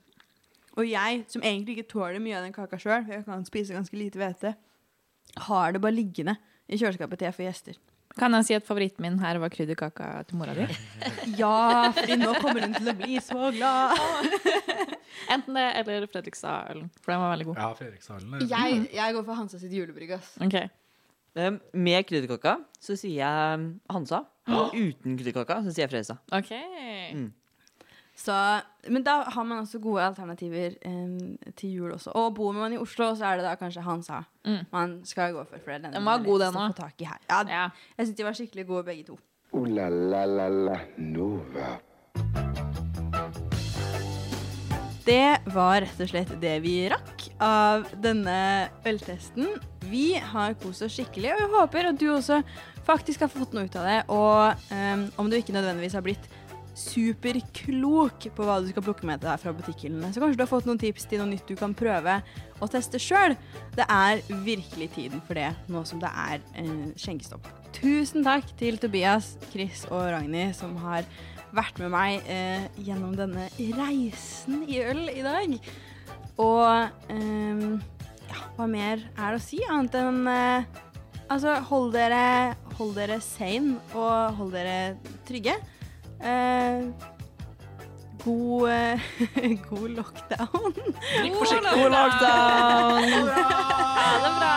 Speaker 3: Og jeg, som egentlig ikke tåler mye av den kaka sjøl, for jeg kan spise ganske lite hvete, har det bare liggende i kjøleskapet til jeg får gjester.
Speaker 5: Kan jeg si at favoritten min her var krydderkaka til mora di?
Speaker 3: Ja, fordi nå kommer hun til å bli så glad.
Speaker 5: Enten det eller Fredrikstad-ølen, for den var veldig god.
Speaker 6: Ja, Fredrikshallen
Speaker 3: Jeg, jeg går for Hansa sitt julebrygg, ass.
Speaker 5: Ok.
Speaker 7: Um, Med krydderkaka så sier jeg um, Hansa. Og uten krydderkaka så sier jeg Fresa.
Speaker 5: Ok.
Speaker 7: Mm.
Speaker 3: Så, men da har man også gode alternativer em, til jul også. Og bor man i Oslo, så er det da kanskje Hansa
Speaker 5: Mm.
Speaker 3: man skal gå for. for det er den,
Speaker 5: Den var
Speaker 3: man
Speaker 5: god,
Speaker 3: lettest
Speaker 5: den
Speaker 3: å
Speaker 5: også.
Speaker 3: få tak i her. Ja, Jeg syns de var skikkelig gode, begge to.
Speaker 2: Ooh la la la la Nova.
Speaker 3: Det var rett og slett det vi rakk av denne øltesten. Vi har kost oss skikkelig, og jeg håper at du også faktisk har fått noe ut av det. Og em, om du ikke nødvendigvis har blitt superklok på hva du skal plukke med deg fra butikkhyllene, så kanskje du har fått noen tips til noe nytt du kan prøve å teste sjøl. Det er virkelig tiden for det nå som det er eh, skjenkestopp. Tusen takk til Tobias, Chris og Ragnhild som har vært med meg eh, gjennom denne reisen i øl i dag. Og ehm, ja, hva mer er det å si annet enn eh, Altså, hold dere, hold dere sane og hold dere trygge. Eh, god, eh, god lockdown.
Speaker 7: God forsiktig. God lockdown. lockdown.
Speaker 3: Ha det bra.